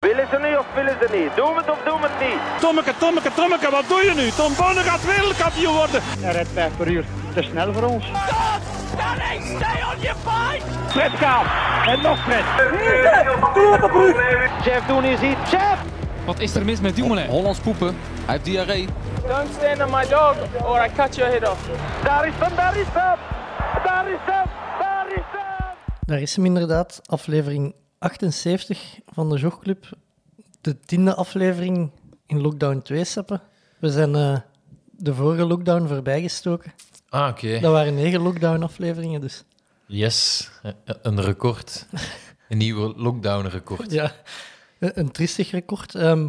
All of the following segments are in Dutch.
ze niet of willen ze niet? Doe het of doe het niet? Tommeke, Tommeke, Tommeke, wat doe je nu? Tom Bonne gaat wereldkampioen worden. Hij rijdt vijf per uur. Te snel voor ons. Fred Kaap. En nog Fred. Jeff Doen is hier. Jeff! Wat is er mis met Dumoulin? Hollands poepen. Hij heeft diarree. Don't stand on my dog or I cut your head off. Daar is hem, daar is hem! Daar is hem! Daar is hem! Daar is hem inderdaad, aflevering 78 van de Jogclub. De tiende aflevering in lockdown 2 sappen. We zijn eh, de vorige lockdown voorbijgestoken. Ah, oké. Dat waren negen lockdown afleveringen, dus Yes, Eh, een record. Een nieuwe lockdown-record. ja, een een triestig record. Ehm,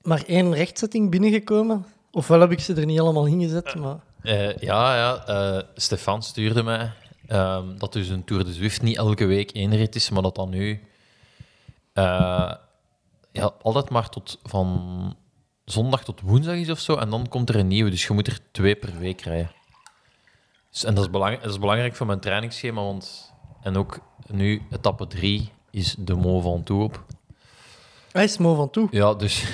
maar één rechtzetting binnengekomen. Ofwel heb ik ze er niet allemaal ingezet, maar Eh, ja, ja eh, Stefan stuurde mij ehm, dat dus een Tour de Zwift niet elke week één rit is, maar dat dan nu eh, ja, altijd maar tot van zondag tot woensdag is of zo. En dan komt er een nieuwe, dus je moet er twee per week rijden. Dus, en dat is, belang, dat is belangrijk voor mijn trainingsschema, want... En ook nu, etappe drie is de Mont Ventoux op. hij is mooi van toe. Ja, dus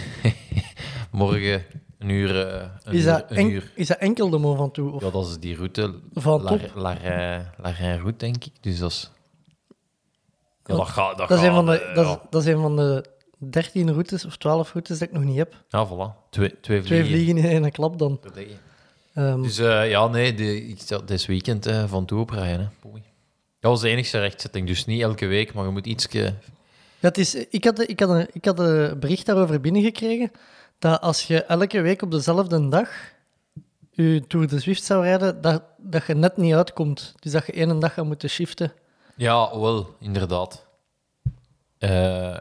morgen een uur. eh, Een Is uur, dat, een en- uur. is dat enkel de mooi van toe? Of Ja, dat is die route. Van La- top. La Rijn- La Rijn route, denk ik. Dus dat is. Ja, dat Want gaat. Dat, dat, is gaat, een van de, eh, dat, ja. is, dat is een van de 13 routes of 12 routes dat ik nog niet heb. Ja, voilà. Twee, twee Twee vliegen. vliegen in één klap dan. Dat denk ik. Ehm, Dus eh, ja, nee, de, ik zat dit weekend eh, van toe oprijden. Hè. Poei. Dat was de enigste rechtzetting. Dus niet elke week, maar je moet iets. ja, het is, ik, had, ik, had een, ik had een bericht daarover binnengekregen dat als je elke week op dezelfde dag je Tour de Zwift zou rijden, dat, dat je net niet uitkomt. Dus dat je één dag gaat moeten shiften. Ja, wel, inderdaad. Eh,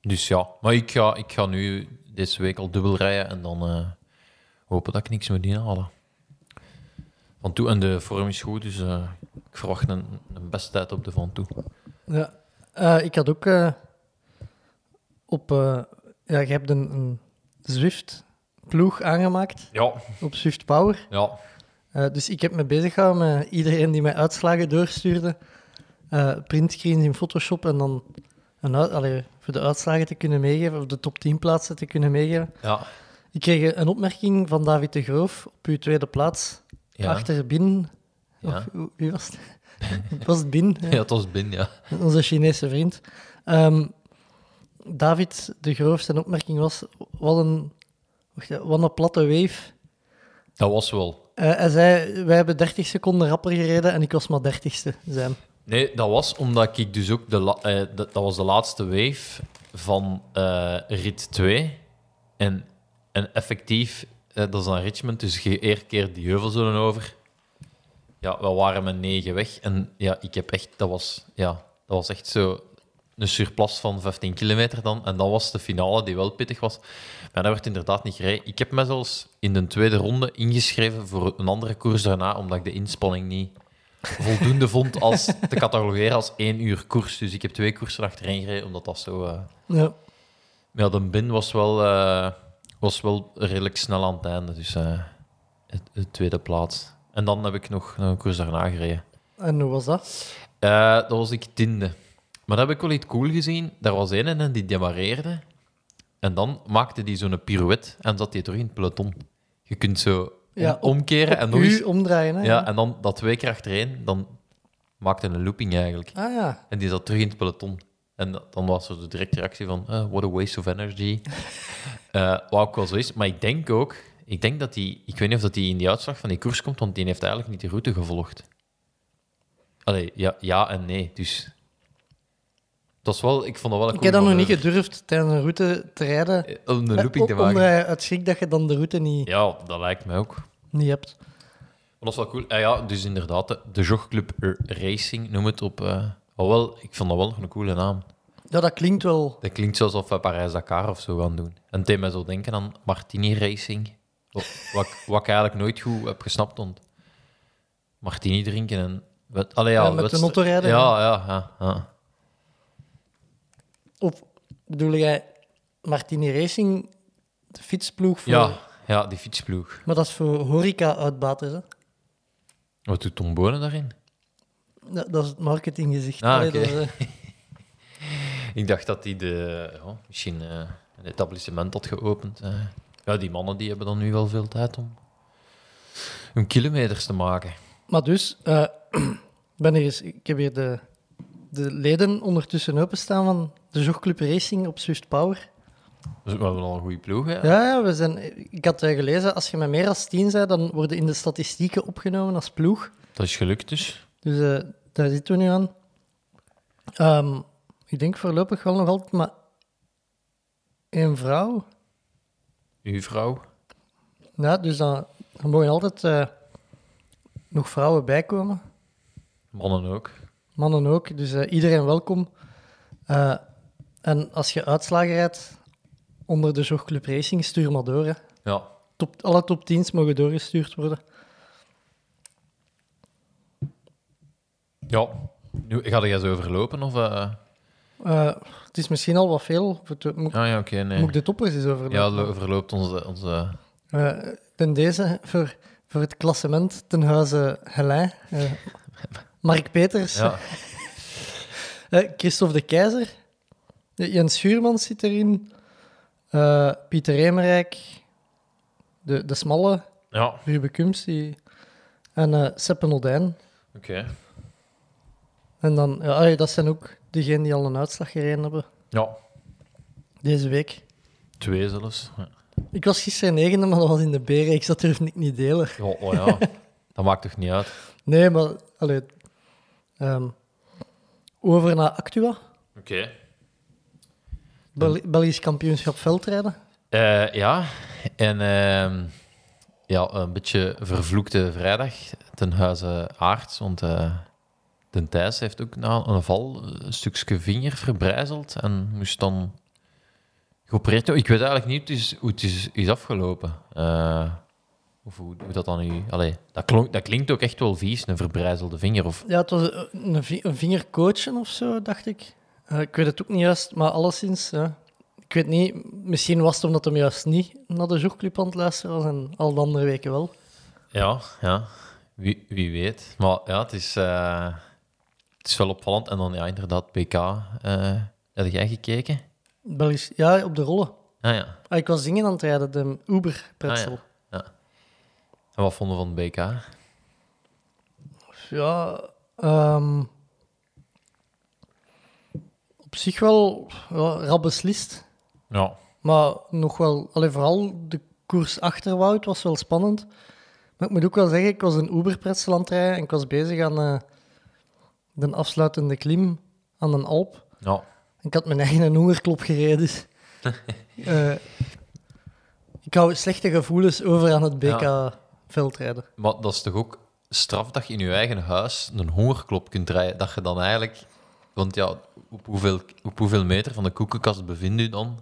dus ja, maar ik ga, ik ga nu deze week al dubbel rijden en dan eh, hopen dat ik niks moet inhalen. Van toe, en de vorm is goed, dus eh, ik verwacht een, een beste tijd op de van toe. Ja. Eh, ik had ook eh, op... eh, ja, je hebt een, een Zwift-ploeg aangemaakt Ja, op Zwift Power. ja. Eh, dus ik heb me bezig gehouden met iedereen die mij uitslagen doorstuurde. eh printscreens in Photoshop en dan een uit- allee, voor de uitslagen te kunnen meegeven, of de top 10 plaatsen te kunnen meegeven. ja, Ik kreeg een opmerking van David de Groof op uw tweede plaats. ja. Achter Bin. Ja. Of, hoe- wie was het? Het was Bin, ja, ja, het was binnen, ja. onze Chinese vriend. Ehm, David de Groof, zijn opmerking was: wat een, wacht, hè, wat een platte wave. Dat was wel. Eh, hij zei, wij hebben 30 seconden rapper gereden en ik was maar 30ste. Zei hem. Nee, dat was omdat ik dus ook... De la- eh, dat, dat was de laatste wave van eh, rit 2. En, en effectief, eh, dat is dan Richmond, dus je eerst keer die heuvel zullen over. Ja, we waren met negen weg. En ja, ik heb echt... Dat was, ja, dat was echt zo een surplus van 15 kilometer dan. En dat was de finale, die wel pittig was. Maar dat werd inderdaad niet gereden. Ik heb me zelfs in de tweede ronde ingeschreven voor een andere koers daarna, omdat ik de inspanning niet voldoende vond als te catalogeren als één uur koers. Dus ik heb twee koersen achtereen gereden, omdat dat zo... eh, Ja. maar ja, de bin was wel, eh, was wel redelijk snel aan het einde. Dus eh, het, het tweede plaats. En dan heb ik nog een koers daarna gereden. En hoe was dat? Eh dat was ik tiende. Maar dat heb ik wel iets cool gezien. Daar was één en die demareerde. En dan maakte die zo'n pirouette en zat die terug in het peloton. Je kunt zo om- Ja, op- omkeren en nog U eens... omdraaien, hè? Ja, en dan dat twee keer achtereen, dan maakte een looping eigenlijk. Ah ja. En die zat terug in het peloton. En da- dan was er de directe reactie van, eh, what a waste of energy. Eh wat ook wel zo is. Maar ik denk ook, ik denk dat die, ik weet niet of dat die in die uitslag van die koers komt, want die heeft eigenlijk niet de route gevolgd. Allee, ja, ja en nee. Dus dat is wel, ik vond dat wel een Ik heb dat coole nog niet manoeuvre. gedurfd tijdens een route te rijden. Eh, Om een looping te Om- maken. Omdraaien uit schrik dat je dan de route niet, Ja, dat lijkt mij ook. niet hebt. Maar dat is wel cool. Ah ja, dus inderdaad, de- de Jogclub eh, Racing, noem het op. eh oh wel, ik vond dat wel nog een coole naam. Ja, dat klinkt wel... Dat klinkt alsof we Parijs-Dakar of zo gaan doen. En het deed mij zo denken aan Martini Racing. Wat, wat, ik- wat ik eigenlijk nooit goed heb gesnapt, want Martini drinken en... Wet, allee, ja, Ja, met wedst- de auto rijden, Ja, ja, ja. ja. Of bedoel jij Martini Racing, de fietsploeg voor... Ja, ja, die fietsploeg. Maar dat is voor horeca-uitbaters, hè? Wat doet Tom Bonen daarin? Dat, dat is het marketinggezicht. Ah, Allee, oké. dat is, eh, Ik dacht dat hij de, ja, misschien eh, een etablissement had geopend. eh. Ja, die mannen die hebben dan nu wel veel tijd om, om kilometers te maken. Maar dus, eh, ben er eens, ik heb hier de, de leden ondertussen openstaan van de Jogclub Racing op Swift Power. Dus we hebben al een goede ploeg. Hè? Ja, ja we zijn, ik had eh, gelezen, als je met meer dan tien bent, dan worden in de statistieken opgenomen als ploeg. Dat is gelukt dus. Dus eh, daar zitten we nu aan. Ehm, ik denk voorlopig wel nog altijd maar één vrouw. Uw vrouw. Ja, dus dan, er mogen altijd eh, nog vrouwen bijkomen. Mannen ook. Mannen ook, dus eh, iedereen welkom. Eh, en als je uitslagen rijdt onder de Jogclub Racing, stuur maar door. hè. Ja. Top, alle top 10's mogen doorgestuurd worden. Ja. Nu, ga jij zo overlopen? Of, eh? Eh, het is misschien al wat veel. Moet, moet, Ah ja, oké, nee. moet ik de toppers eens overlopen? Ja, lo- overloopt onze... onze... Eh, ten deze voor, voor het klassement ten huize Helijn. eh, Mark Peters, Ja. eh, Christophe de Keizer, eh, Jens Schuurmans zit erin, eh, Pieter Emerijk, de, de Smalle, Ja, oké. Ruben Kums die, en eh Seppen Oldijn. En dan, ja, ah, ja, dat zijn ook degenen die al een uitslag gereden hebben Ja. deze week. Twee zelfs. Ja, Ik was gisteren negende, maar dat was in de Beren. Ik zat durfde ik niet delen. oh, oh ja. dat maakt toch niet uit? Nee, maar allee, ehm, over naar Actua, Oké. Bel- Belgisch kampioenschap veldrijden. Eh, ja, en ehm, ja, een beetje vervloekte vrijdag ten huize Aarts, want eh Den Thijs heeft ook na een val een stukje vinger verbrijzeld en moest dan geopereerd worden. Ik weet eigenlijk niet hoe het is, hoe het is, is afgelopen. Eh, of hoe, hoe dat dan nu... Allee, dat, klonk, dat klinkt ook echt wel vies, een verbrijzelde vinger. Of, Ja, het was een, vi- een vingercoachen of zo, dacht ik. Eh, ik weet het ook niet juist, maar alleszins. ja. ik weet niet, misschien was het omdat hem juist niet naar de jourclub aan het luisteren was en al de andere weken wel. Ja, ja. Wie, wie weet. Maar ja, het is, eh, het is wel opvallend. En dan ja, inderdaad, PK. eh heb jij gekeken? Belgisch, ja, op de rollen. Ah ja. Ah, ik was zingen aan het rijden, de Uber-pretzel. Ah, En wat vonden we van het BK? Ja, ehm, op zich wel ja, rap beslist. Ja. Maar nog wel, allee, vooral de koers achter Wout was wel spannend. Maar ik moet ook wel zeggen, ik was een Uber-pretzel aan het rijden en ik was bezig aan eh, de afsluitende klim aan een Alp. Ja. Ik had mijn eigen hongerklop gereden. dus, eh, ik hou slechte gevoelens over aan het BK-veldrijden. Maar dat is toch ook straf dat je in je eigen huis een hongerklop kunt rijden. Dat je dan eigenlijk... Want ja, op hoeveel, op hoeveel meter van de koekenkast bevindt u dan?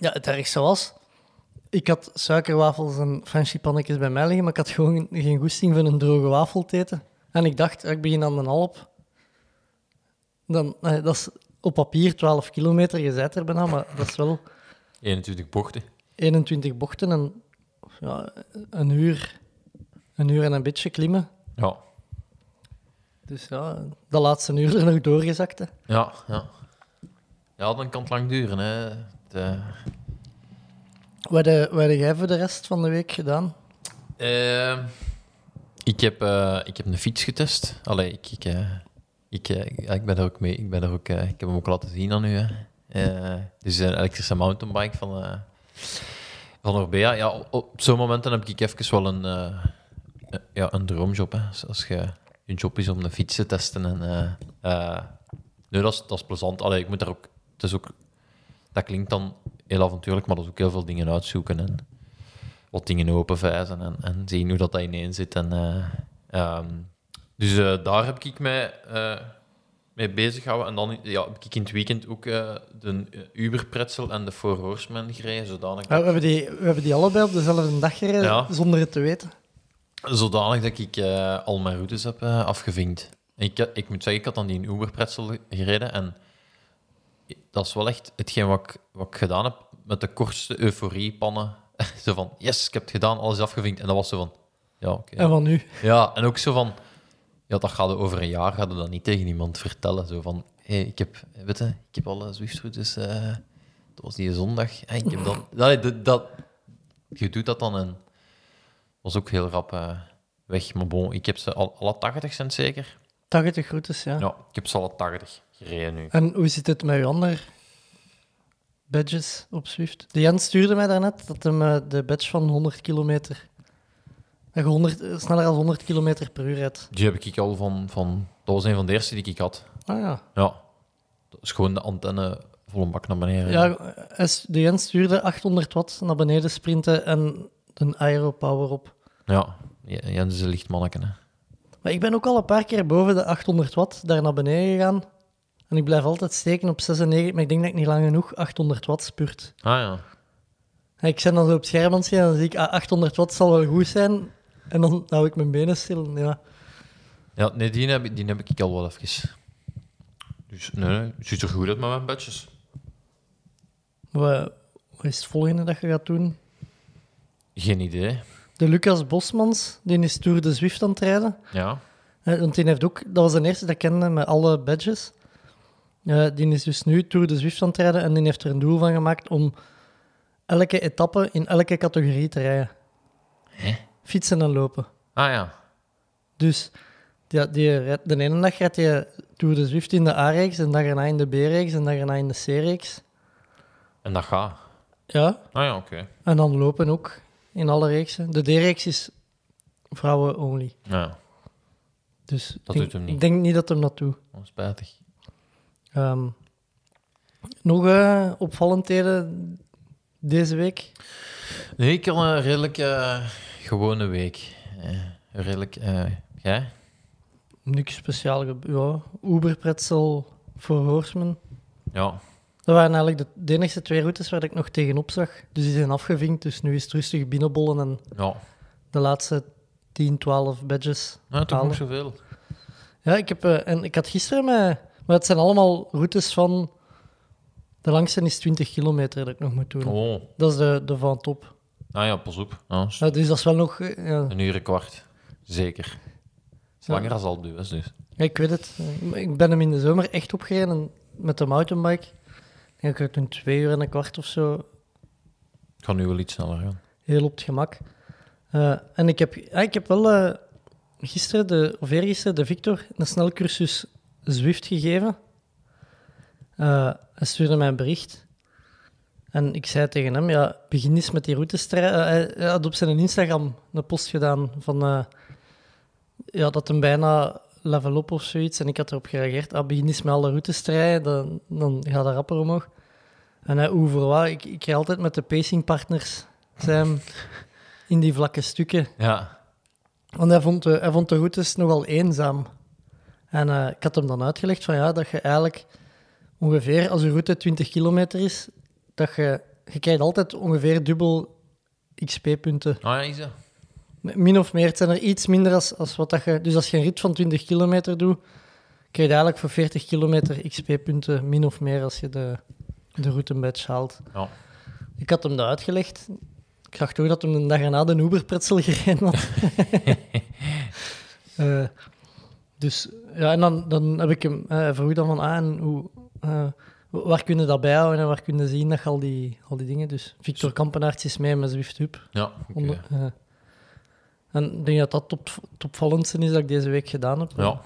Ja, het ergste was... Ik had suikerwafels en fancy pannetjes bij mij liggen, maar ik had gewoon geen goesting van een droge wafel te eten. En ik dacht, ik begin aan mijn halp. Dan, eh, dat is op papier 12 kilometer, je bent er bijna, maar dat is wel 21 bochten. 21 bochten en ja, een, uur, een uur en een beetje klimmen. Ja. Dus ja, dat laatste uur er nog doorgezakt. hè. Ja, ja. Ja, dan kan het lang duren, hè. Het, eh, Wat eh, wat heb jij voor de rest van de week gedaan? Ehm, ik, heb, eh, ik heb een fiets getest. Allee, ik, ik, eh, ik, eh, ja, ik ben er ook mee. Ik, ben er ook, eh, ik heb hem ook laten zien aan u. Hè. Eh, dus een elektrische mountainbike van, eh van Orbea. Ja, op, op zo'n momenten heb ik even wel een, eh, eh, ja, een droomjob. Hè. Dus Als- Als je, je job is om een fiets te testen. En, eh, eh, nee, dat is, dat is plezant. Allee, ik moet daar ook, het is ook... Dat klinkt dan heel avontuurlijk, maar dat is ook heel veel dingen uitzoeken. En, wat dingen openvijzen en, en zien hoe dat, dat ineen zit. En, eh, ehm, dus eh, daar heb ik mij eh, mee bezig gehouden. En dan ja, heb ik in het weekend ook eh, de Uber-pretzel en de Four Horsemen gereden, zodanig Ja, dat, we, hebben die, we hebben die allebei op dezelfde dag gereden, Ja. zonder het te weten. zodanig dat ik eh, al mijn routes heb eh, afgevinkt. Ik, eh, ik moet zeggen, ik had dan die Uber-pretzel gereden en dat is wel echt hetgeen wat ik, wat ik gedaan heb met de kortste euforiepannen. zo van, yes, ik heb het gedaan, alles is afgevinkt. En dat was zo van, ja, oké. En van nu? Ja, en ook zo van... Ja, dat gaat over een jaar gaat dat niet tegen iemand vertellen. Zo van, hey, ik heb, weet je, ik heb alle Zwift-routes, eh, dat was die zondag. Hey, ik heb dat, Allee, dat, dat- je doet dat dan en was ook heel rap eh, weg. Maar bon, ik heb ze al, alle 80 cent zeker. 80 routes, ja. Ja, ik heb ze alle 80 gereden nu. En hoe zit het met uw andere badges op Zwift? De Jens stuurde mij daarnet dat hem eh, de badge van 100 kilometer... Dat je 100, eh, sneller dan 100 kilometer per uur rijdt. Die heb ik al van, van, dat was een van de eerste die ik had. Ah ja. Ja, dat is gewoon de antenne vol een bak naar beneden. ja hij stu- de Jens stuurde 800 watt naar beneden sprinten en een aero power op. ja. Jens is een licht manneke, hè. Maar ik ben ook al een paar keer boven de 800 watt daar naar beneden gegaan. En ik blijf altijd steken op 96, maar ik denk dat ik niet lang genoeg 800 watt spurt. Ah ja. En ik zit dan zo op het scherm aan het zien en dan zie ik, ah, 800 watt zal wel goed zijn. En dan hou ik mijn benen stil. Ja. Ja, nee, die heb, ik- die heb ik al wel even. Dus nee, nee, het ziet er goed uit met mijn badges. Wat, wat is het volgende dat je gaat doen? Geen idee. De Lucas Bosmans, die is Tour de Zwift aan het rijden. Ja. Eh, Want die heeft ook, dat was de eerste dat ik kende met alle badges. Eh, die is dus nu Tour de Zwift aan het rijden en die heeft er een doel van gemaakt om elke etappe in elke categorie te rijden. Fietsen en lopen. Ah ja. Dus ja, die rijdt- de ene dag rijdt je Tour de Zwift in de A-reeks, en dag erna in de B-reeks, en dag erna in de C-reeks. En dat gaat. Ja, Ah ja, oké. en dan lopen ook in alle reeksen. De D-reeks is vrouwen only. Ja, Dus ik Dat denk- doet hem niet. Ik denk niet dat hem dat doet. oh, spijtig. Ehm, nog eh, opvallendheden deze week? Nee, ik had een redelijk eh, gewone week. Eh, redelijk. eh, jij? Niks speciaal gebeurd. Ja, Uberpretzel voor Horseman. Ja. Dat waren eigenlijk de, de enige twee routes waar ik nog tegenop zag. Dus die zijn afgevinkt, dus nu is het rustig binnenbollen en Ja. de laatste 10, 12 badges. Nou, toch Halen. nog zoveel. Ja, ik, heb, eh, en ik had gisteren... Mijn, maar het zijn allemaal routes van... De langste is 20 kilometer dat ik nog moet doen. Oh. Dat is de, de van top. Ah ja, pas op. Ja, is Ja, dus dat is wel nog... eh, ja. een uur en kwart. Zeker. Is Langer als al duwen, dus. Ja, ik weet het. Ik ben hem in de zomer echt opgereden en met de mountainbike. En ik had toen twee uur en een kwart of zo, Ik ga nu wel iets sneller gaan. heel op het gemak. Eh, en ik heb, ah, ik heb wel eh, gisteren, de, of eergisteren, de Victor een snelcursus Zwift gegeven. Eh, hij stuurde mij een bericht. En ik zei tegen hem, ja, begin eens met die routes. te rijden. Eh, hij- hij had op zijn Instagram een post gedaan van... eh, ja, dat hem bijna level up of zoiets. En ik had erop gereageerd, ah, begin eens met alle routes te rijden, dan, dan gaat dat rapper omhoog. En hij, hoe voor wat, ik, ik rij altijd met de pacingpartners, zei hem, in die vlakke stukken. Ja. Want hij vond, de- hij vond de routes nogal eenzaam. En eh, ik had hem dan uitgelegd van ja, dat je eigenlijk ongeveer, als je route 20 kilometer is, dat je, je krijgt altijd ongeveer dubbel XP-punten. Ah ja, is dat? Min of meer, het zijn er iets minder als, als wat dat je... Dus als je een rit van 20 kilometer doet, krijg je eigenlijk voor 40 kilometer XP-punten, min of meer, als je de, de route badge haalt. Ja. Ik had hem dat uitgelegd. Ik zag toch dat hem een dag erna de Uber-pretzel gereden had. Eh, dus ja, en dan, dan heb ik hem eh vroeg dan van aan hoe, eh, waar kunnen dat bijhouden en waar kunnen zien dat je al die, al die dingen. Dus Victor Kampenaerts is mee met Zwift Hub. Ja, oké. Onder- ja. En ik denk dat dat top, het opvallendste is dat ik deze week gedaan heb. Ja.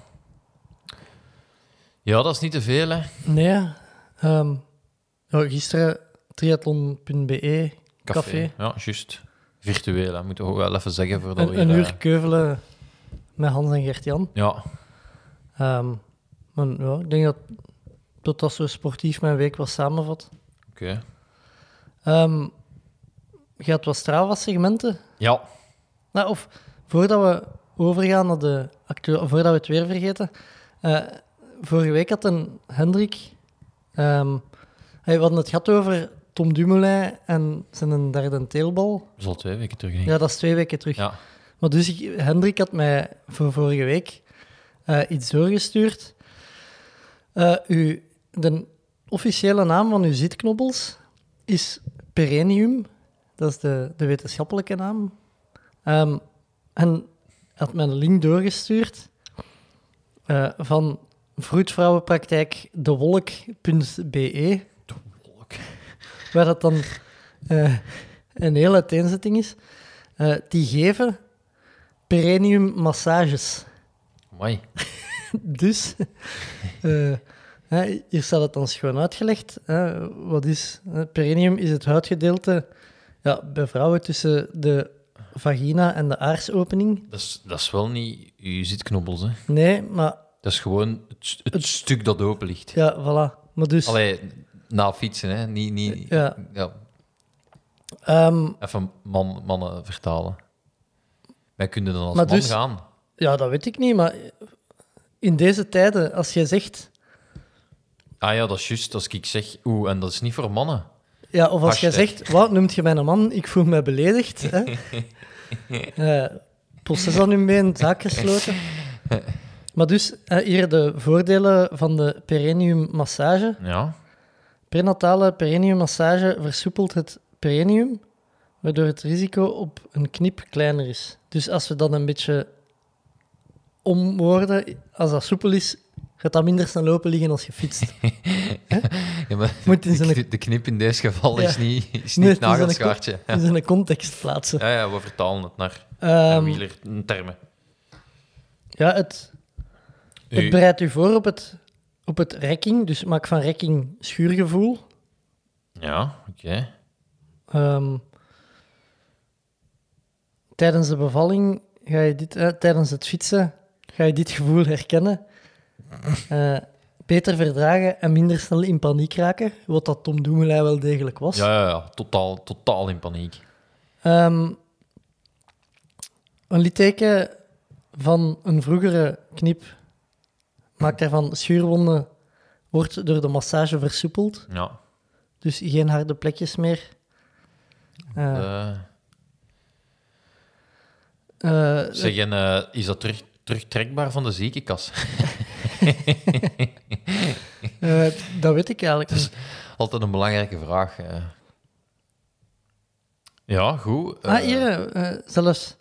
Ja, dat is niet te veel, hè. Nee. ehm, ja, gisteren triathlon.be, E, café. Ja, juist. Virtueel, hè. Moet ik ook wel even zeggen voordat Een, we een hier, uur eh, keuvelen met Hans en Gert-Jan. Ja, Ehm, maar ja, ik denk dat dat, dat zo sportief mijn week was samenvat. oké. Ehm je had wat Strava-segmenten. Ja, Nou, of voordat we overgaan naar de actuele, voordat we het weer vergeten. eh, vorige week had een Hendrik. ehm hij had het gehad over Tom Dumoulin en zijn derde teelbal. dat is al twee weken terug, denk ik. Ja, dat is twee weken terug. Ja. Maar dus ik, Hendrik had mij voor vorige week eh, iets doorgestuurd. Eh, uw, de officiële naam van uw zitknobbels is Perenium. Dat is de, de wetenschappelijke naam. Ehm, en hij had mij een link doorgestuurd eh, van vroedvrouwenpraktijk dewolk.be. Waar dat dan eh, een hele uiteenzetting is. Eh, die geven perineum massages. Amai. Dus, eh, hè, hier staat het dan schoon uitgelegd. hè. wat is eh, perineum? Is het huidgedeelte ja, bij vrouwen tussen de vagina en de aarsopening? Dat is, dat is wel niet je zitknobbels, hè. Nee, maar Dat is gewoon het, st- het stuk dat open ligt. ja, voilà. Maar dus, Allee, na fietsen, hè. Niet, niet, Ja. ehm, Even man, mannen vertalen. Wij kunnen dan als Maar man dus- gaan. ja, dat weet ik niet. Maar in deze tijden, als je zegt, Ah ja, dat is juist. Als ik zeg, oeh, en dat is niet voor mannen. ja, of als je Hashtag. zegt, wat noemt je mij een man? Ik voel me beledigd. Hè? Eh, proces aan hun been, zaak gesloten. Maar dus, eh, hier de voordelen van de perineum massage. Ja. Prenatale perineummassage versoepelt het perineum, waardoor het risico op een knip kleiner is. Dus als we dat een beetje omwoorden, als dat soepel is, gaat dat minder snel open liggen als je fietst. Ja, maar Moet in zijn- de, de knip in deze geval is Ja. niet, is Nee, niet het is een- nagelschaartje. Ja. Dus in een context plaatsen. Ja, ja, we vertalen het naar eh, Ehm, wielertermen. ja, het, het bereidt u voor op het, op het rekking, dus maak van rekking schuurgevoel. Ja, oké. Ehm, tijdens de bevalling ga je dit, eh, tijdens het fietsen ga je dit gevoel herkennen. Eh, beter verdragen en minder snel in paniek raken, wat dat Tom Doemelij wel degelijk was. Ja, ja, ja. Totaal, totaal in paniek. Ehm, een litteken van een vroegere knip maakt daarvan schuurwonden, wordt door de massage versoepeld, Ja. dus geen harde plekjes meer. Eh, Eh, eh, zeg, en, eh, is dat terug, terugtrekbaar van de ziekenkas? Eh, dat weet ik eigenlijk Dus, niet. Altijd een belangrijke vraag. eh. Ja, goed. eh, ah, hier, eh, zelfs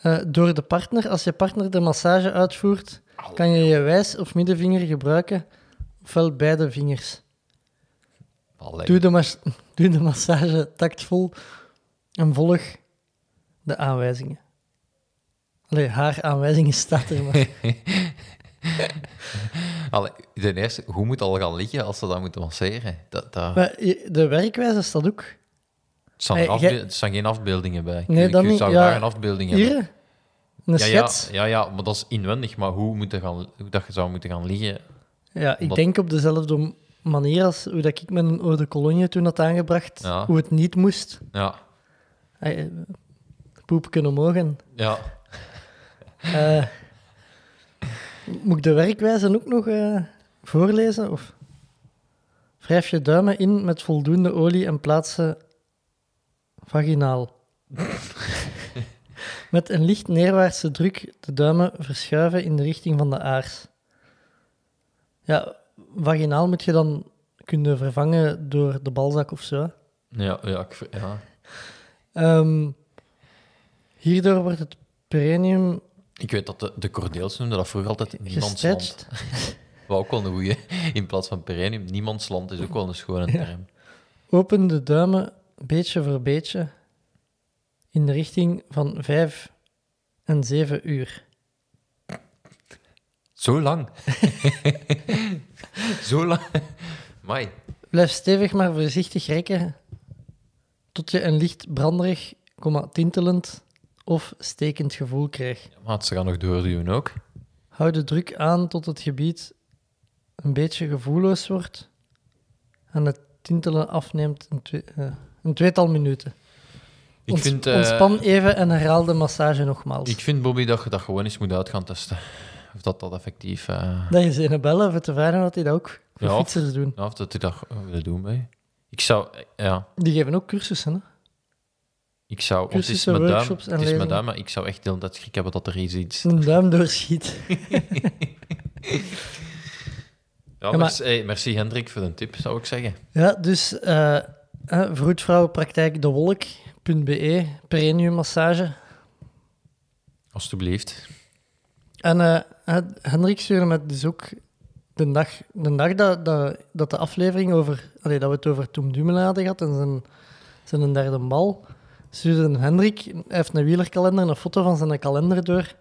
eh, door de partner. Als je partner de massage uitvoert, kan je je wijs- of middenvinger gebruiken, ofwel beide vingers. allee. Doe de, mas- doe de massage tactvol en volg de aanwijzingen. Allee, haar aanwijzingen staat er maar. Allee, ten eerste, hoe moet het al gaan liggen als ze dat moeten masseren? Dat, dat, maar je- de werkwijze staat ook. het, staan Hey, er afbe- jij- het staan geen afbeeldingen bij. Ik- eh, Nee, ik dat ik niet, zou ja. graag een afbeelding hebben. Hier, een ja, ja, schets. ja, ja, maar dat is inwendig. Maar hoe, moet dat gaan, hoe dat je zou moeten gaan liggen? Ja, ik Wat- denk op dezelfde manier als hoe dat ik mijn eau de cologne toen had aangebracht, Ja. hoe het niet moest. Ja, Ay, eh, Poep kunnen mogen. ja. Eh, moet ik de werkwijze ook nog eh, voorlezen? Of? Wrijf je duimen in met voldoende olie en plaats ze vaginaal. met een licht neerwaartse druk de duimen verschuiven in de richting van de aars. Ja, vaginaal moet je dan kunnen vervangen door de balzak of zo. Ja, ja, ik ver- ja. Ehm, hierdoor wordt het perineum Ik weet dat de, de cordeels noemden dat vroeger altijd niemandsland. gestretched. Wat ook wel een goeie. In plaats van perineum, niemandsland is ook wel een schone term. Open de duimen beetje voor beetje in de richting van 5 en 7 uur. Zo lang. Zo lang. Mai. Blijf stevig maar voorzichtig rekken tot je een licht branderig, komma, tintelend of stekend gevoel krijgt. Maat, ze gaan nog doorduwen ook. Hou de druk aan tot het gebied een beetje gevoelloos wordt en het tintelen afneemt een, twe- eh, een tweetal minuten. Ik Ons- vind, eh, Ontspan even en herhaal de massage nogmaals. Ik vind, Bobby, dat je dat gewoon eens moet uit gaan testen. Of dat dat effectief... eh, Dat is een bellen voor te vragen wat die dat ook voor Ja. fietsers doen. ja, of dat hij dat eh, wil doen bij. Ik zou... eh, Ja, Die geven ook cursussen, hè? ik zou... want het is Cursussen, mijn duim, workshops en het is mijn lezingen. duim, maar ik zou echt de hele tijd schrik hebben dat er eens iets... Een duim doorschiet. Ja, maar- merci, hey, merci Hendrik voor de tip, zou ik zeggen. Ja, dus eh hè, vroedvrouwenpraktijk de wolk.be, perineummassage. Alsjeblieft. En eh, Hen- Hendrik stuurde me dus ook de dag, de dag dat, dat, dat de aflevering over... Allee, dat we het over Tom Dumoulin hadden gehad en zijn, zijn derde bal, stuurde Hendrik, hij heeft een wielerkalender, een foto van zijn kalender door.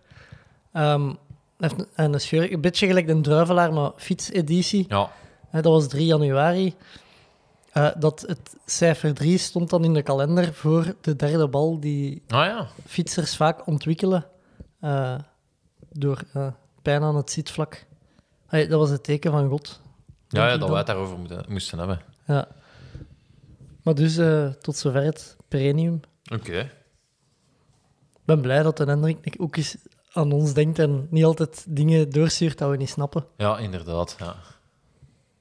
Ehm, hij heeft een, en een, scheur, een beetje gelijk de druivelaar, maar fietseditie. Ja, Ah, Hè, dat was 3 januari. Eh, dat het cijfer 3 stond dan in de kalender voor de derde bal die nou ja. fietsers vaak ontwikkelen eh, door eh, pijn aan het zitvlak. Hey, dat was het teken van God. Ja, denk ja ik dat dan. wij het daarover moeten, moesten hebben. Ja. Maar dus, eh, tot zover het perennium. Oké. Ik ben blij dat de Hendrik ook eens aan ons denkt en niet altijd dingen doorstuurt dat we niet snappen. Ja, inderdaad. Ja.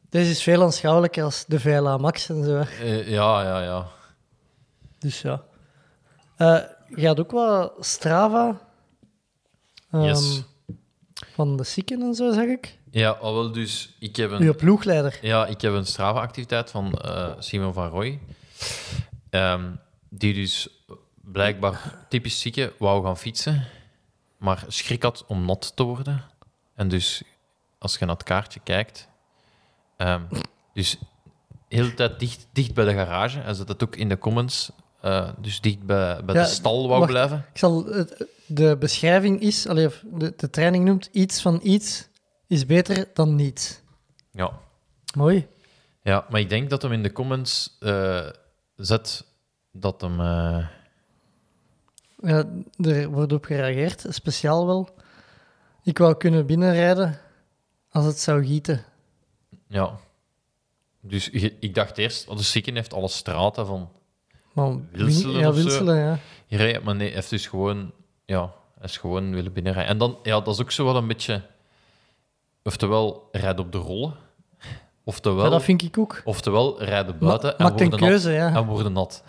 Deze is veel aanschouwelijker als de Vela Max en zo. Eh, ja, ja, ja. Dus ja. Eh, je had ook wat Strava ehm, Yes. van de zieken en zo, zeg ik. Ja, al wel dus, ik heb een, Uw ploegleider. ja, ik heb een Strava-activiteit van eh, Simon van Roy. Ehm, die dus blijkbaar typisch zieke wou gaan fietsen, maar schrik had om nat te worden. En dus, als je naar het kaartje kijkt, ehm, dus heel de tijd dicht, dicht bij de garage. Hij zet dat ook in de comments, eh, dus dicht bij, bij Ja, de stal wou wacht. blijven. Ik zal, het- de beschrijving is, allee, of de, de training noemt, iets van iets is beter dan niets. Ja. Mooi. Ja, maar ik denk dat hem in de comments eh, zet dat hem. eh, Ja, er wordt op gereageerd, speciaal wel. Ik wou kunnen binnenrijden als het zou gieten. ja. Dus je- ik dacht eerst, oh, de zieken heeft alle straten van. Maar Wilselen ja, of zo? winselen, ja. Hier, rijdt, maar nee, hij heeft dus gewoon. Ja, hij is gewoon willen binnenrijden. En dan, ja, dat is ook zo wel een beetje. Oftewel, rijd op de rollen. Oftewel, ja. Dat vind ik ook. oftewel rijden buiten Ma- maakt en, een worden keuze, nat, ja. en worden nat.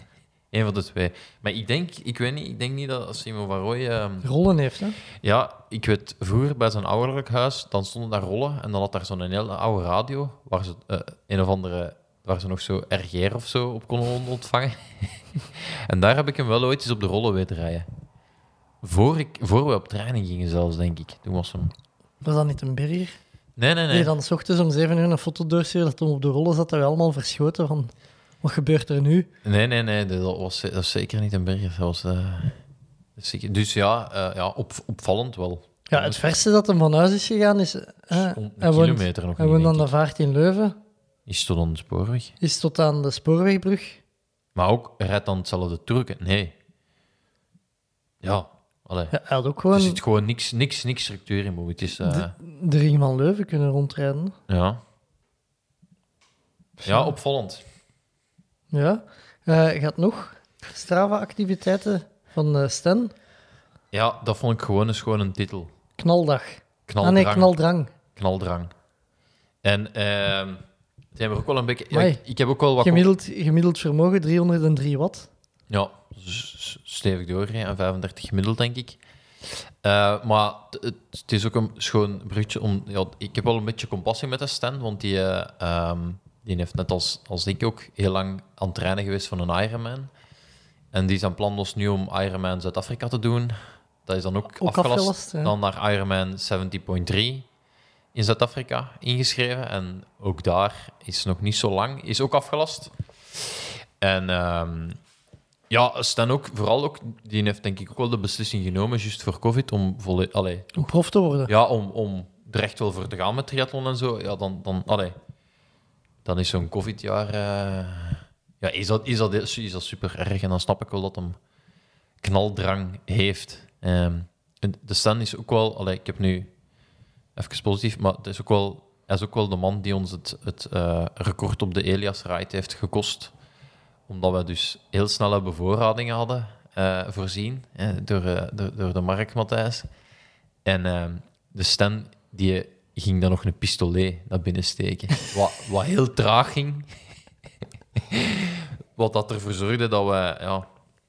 Eén van de twee. Maar ik denk, ik weet niet, ik denk niet dat Simon van Rooij. ehm, Rollen heeft, hè. Ja, ik weet, vroeger bij zijn ouderlijk huis, dan stonden daar rollen en dan had daar zo'n hele oude radio, waar ze eh, een of andere, waar ze nog zo RGR of zo op konden on- ontvangen. en daar heb ik hem wel ooit eens op de rollen weten rijden. Voor, ik, voor we op training gingen zelfs, denk ik. Toen was hem... Was dat niet een berger? Nee, nee, Nee, nee. dan s ochtends om 7 uur een foto doorsturen dat hem op de rollen zat, dat we allemaal verschoten van... Wat gebeurt er nu? Nee, nee, nee. Dat was, dat was zeker niet een berg. Dat was... eh, zeker- dus ja, eh, ja op, opvallend wel. Ja, het verste dat hem van huis is gegaan is... hè, Om een hij woont, kilometer nog hij niet, woont aan denk de vaart in Leuven. ik. Is tot aan de spoorweg. is tot aan de spoorwegbrug. Maar ook rijdt dan hetzelfde Turken? Nee. Ja, allee. Ja, hij had ook Er gewoon zit gewoon niks, niks, niks structuur in, maar het is... eh, de Ring van Leuven kunnen rondrijden. ja. ja, opvallend. Ja. Eh, je gaat nog Strava-activiteiten van eh Stan. Ja, dat vond ik gewoon eens gewoon een titel. Knaldag. Ah Knaldrang. nee, knaldrang. Knaldrang. En ehm het heeft me ook wel een beetje... Ja, Amai. ik, ik heb ook wel wat... Gemiddeld, gemiddeld vermogen 303 watt. Ja, s- s- stevig doorrijden en 35 gemiddeld, denk ik. Eh, maar t- het, het is ook een schoon brugje om... Ja, ik heb wel een beetje compassie met de Stan, want die, eh, ehm, die heeft net als, als ik ook heel lang aan het trainen geweest van een Ironman. En die zijn plan was nu om Ironman Zuid-Afrika te doen. Dat is dan ook, Ook afgelast. afgelast, ja. Dan naar Ironman 70.3 in Zuid-Afrika ingeschreven. En ook daar is nog niet zo lang, is ook afgelast. En ehm, ja, Stan ook, vooral ook, die heeft denk ik ook wel de beslissing genomen, juist voor COVID, om, volle, allee, Om prof te worden. ja, om, om er echt wel voor te gaan met triathlon en zo. Ja, dan, dan, allee, dan is zo'n COVID-jaar... eh, ja, is dat, is, dat, is dat super erg en dan snap ik wel dat hem knaldrang heeft. Ehm, en de Stan is ook wel... Allee, ik heb nu even positief, maar het is ook wel, hij is ook wel de man die ons het, het eh, record op de Elias Ride heeft gekost. Omdat we dus heel snelle bevoorradingen hadden eh, voorzien eh, door, eh, door, door de Mark Matthijs. En ehm, de Stan die ging dan nog een pistolet naar binnen steken. wat, wat heel traag ging. wat dat ervoor zorgde dat we... Ja,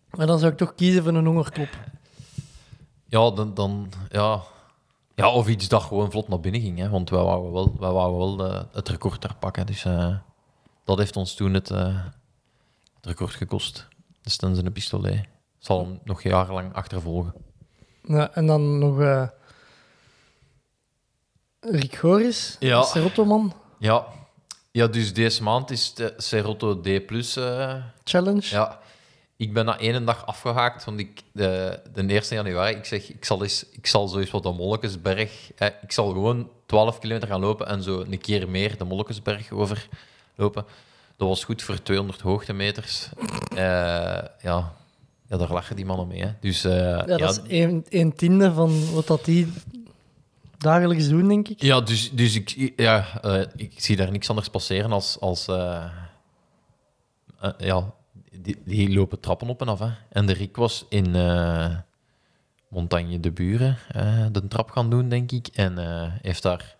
Maar dan zou ik toch kiezen voor een hongerklop. ja, dan, dan ja. ja, of iets dat gewoon vlot naar binnen ging. Hè? Want wij wouden wel, wij wouden wel eh, het record daar pakken. Dus eh, dat heeft ons toen het, eh, het record gekost. Dus dan zijn een pistolet. Zal hem nog jarenlang achtervolgen. Ja, en dan nog eh, Rick Goris, Ja. Serottoman Ja. ja, dus deze maand is de Serotto D+. Plus, eh, Challenge. ja. Ik ben na één dag afgehaakt, want ik, de, de 1 januari, ik zeg, ik zal, eens, ik zal zoiets wat de Mollekesberg... eh, ik zal gewoon 12 kilometer gaan lopen en zo een keer meer de Mollekesberg overlopen. Dat was goed voor 200 hoogtemeters. Eh, ja. ja, daar lachen die mannen mee. Hè. Dus eh, Ja, ja, dat is een, een tiende van wat dat die dagelijks doen, denk ik. Ja, dus, dus ik, ja, eh, ik zie daar niks anders passeren als. als eh, eh, ja, die, die lopen trappen op en af. Hè. En de Rick was in eh, Montagne de Buren eh, de trap gaan doen, denk ik. En eh, heeft daar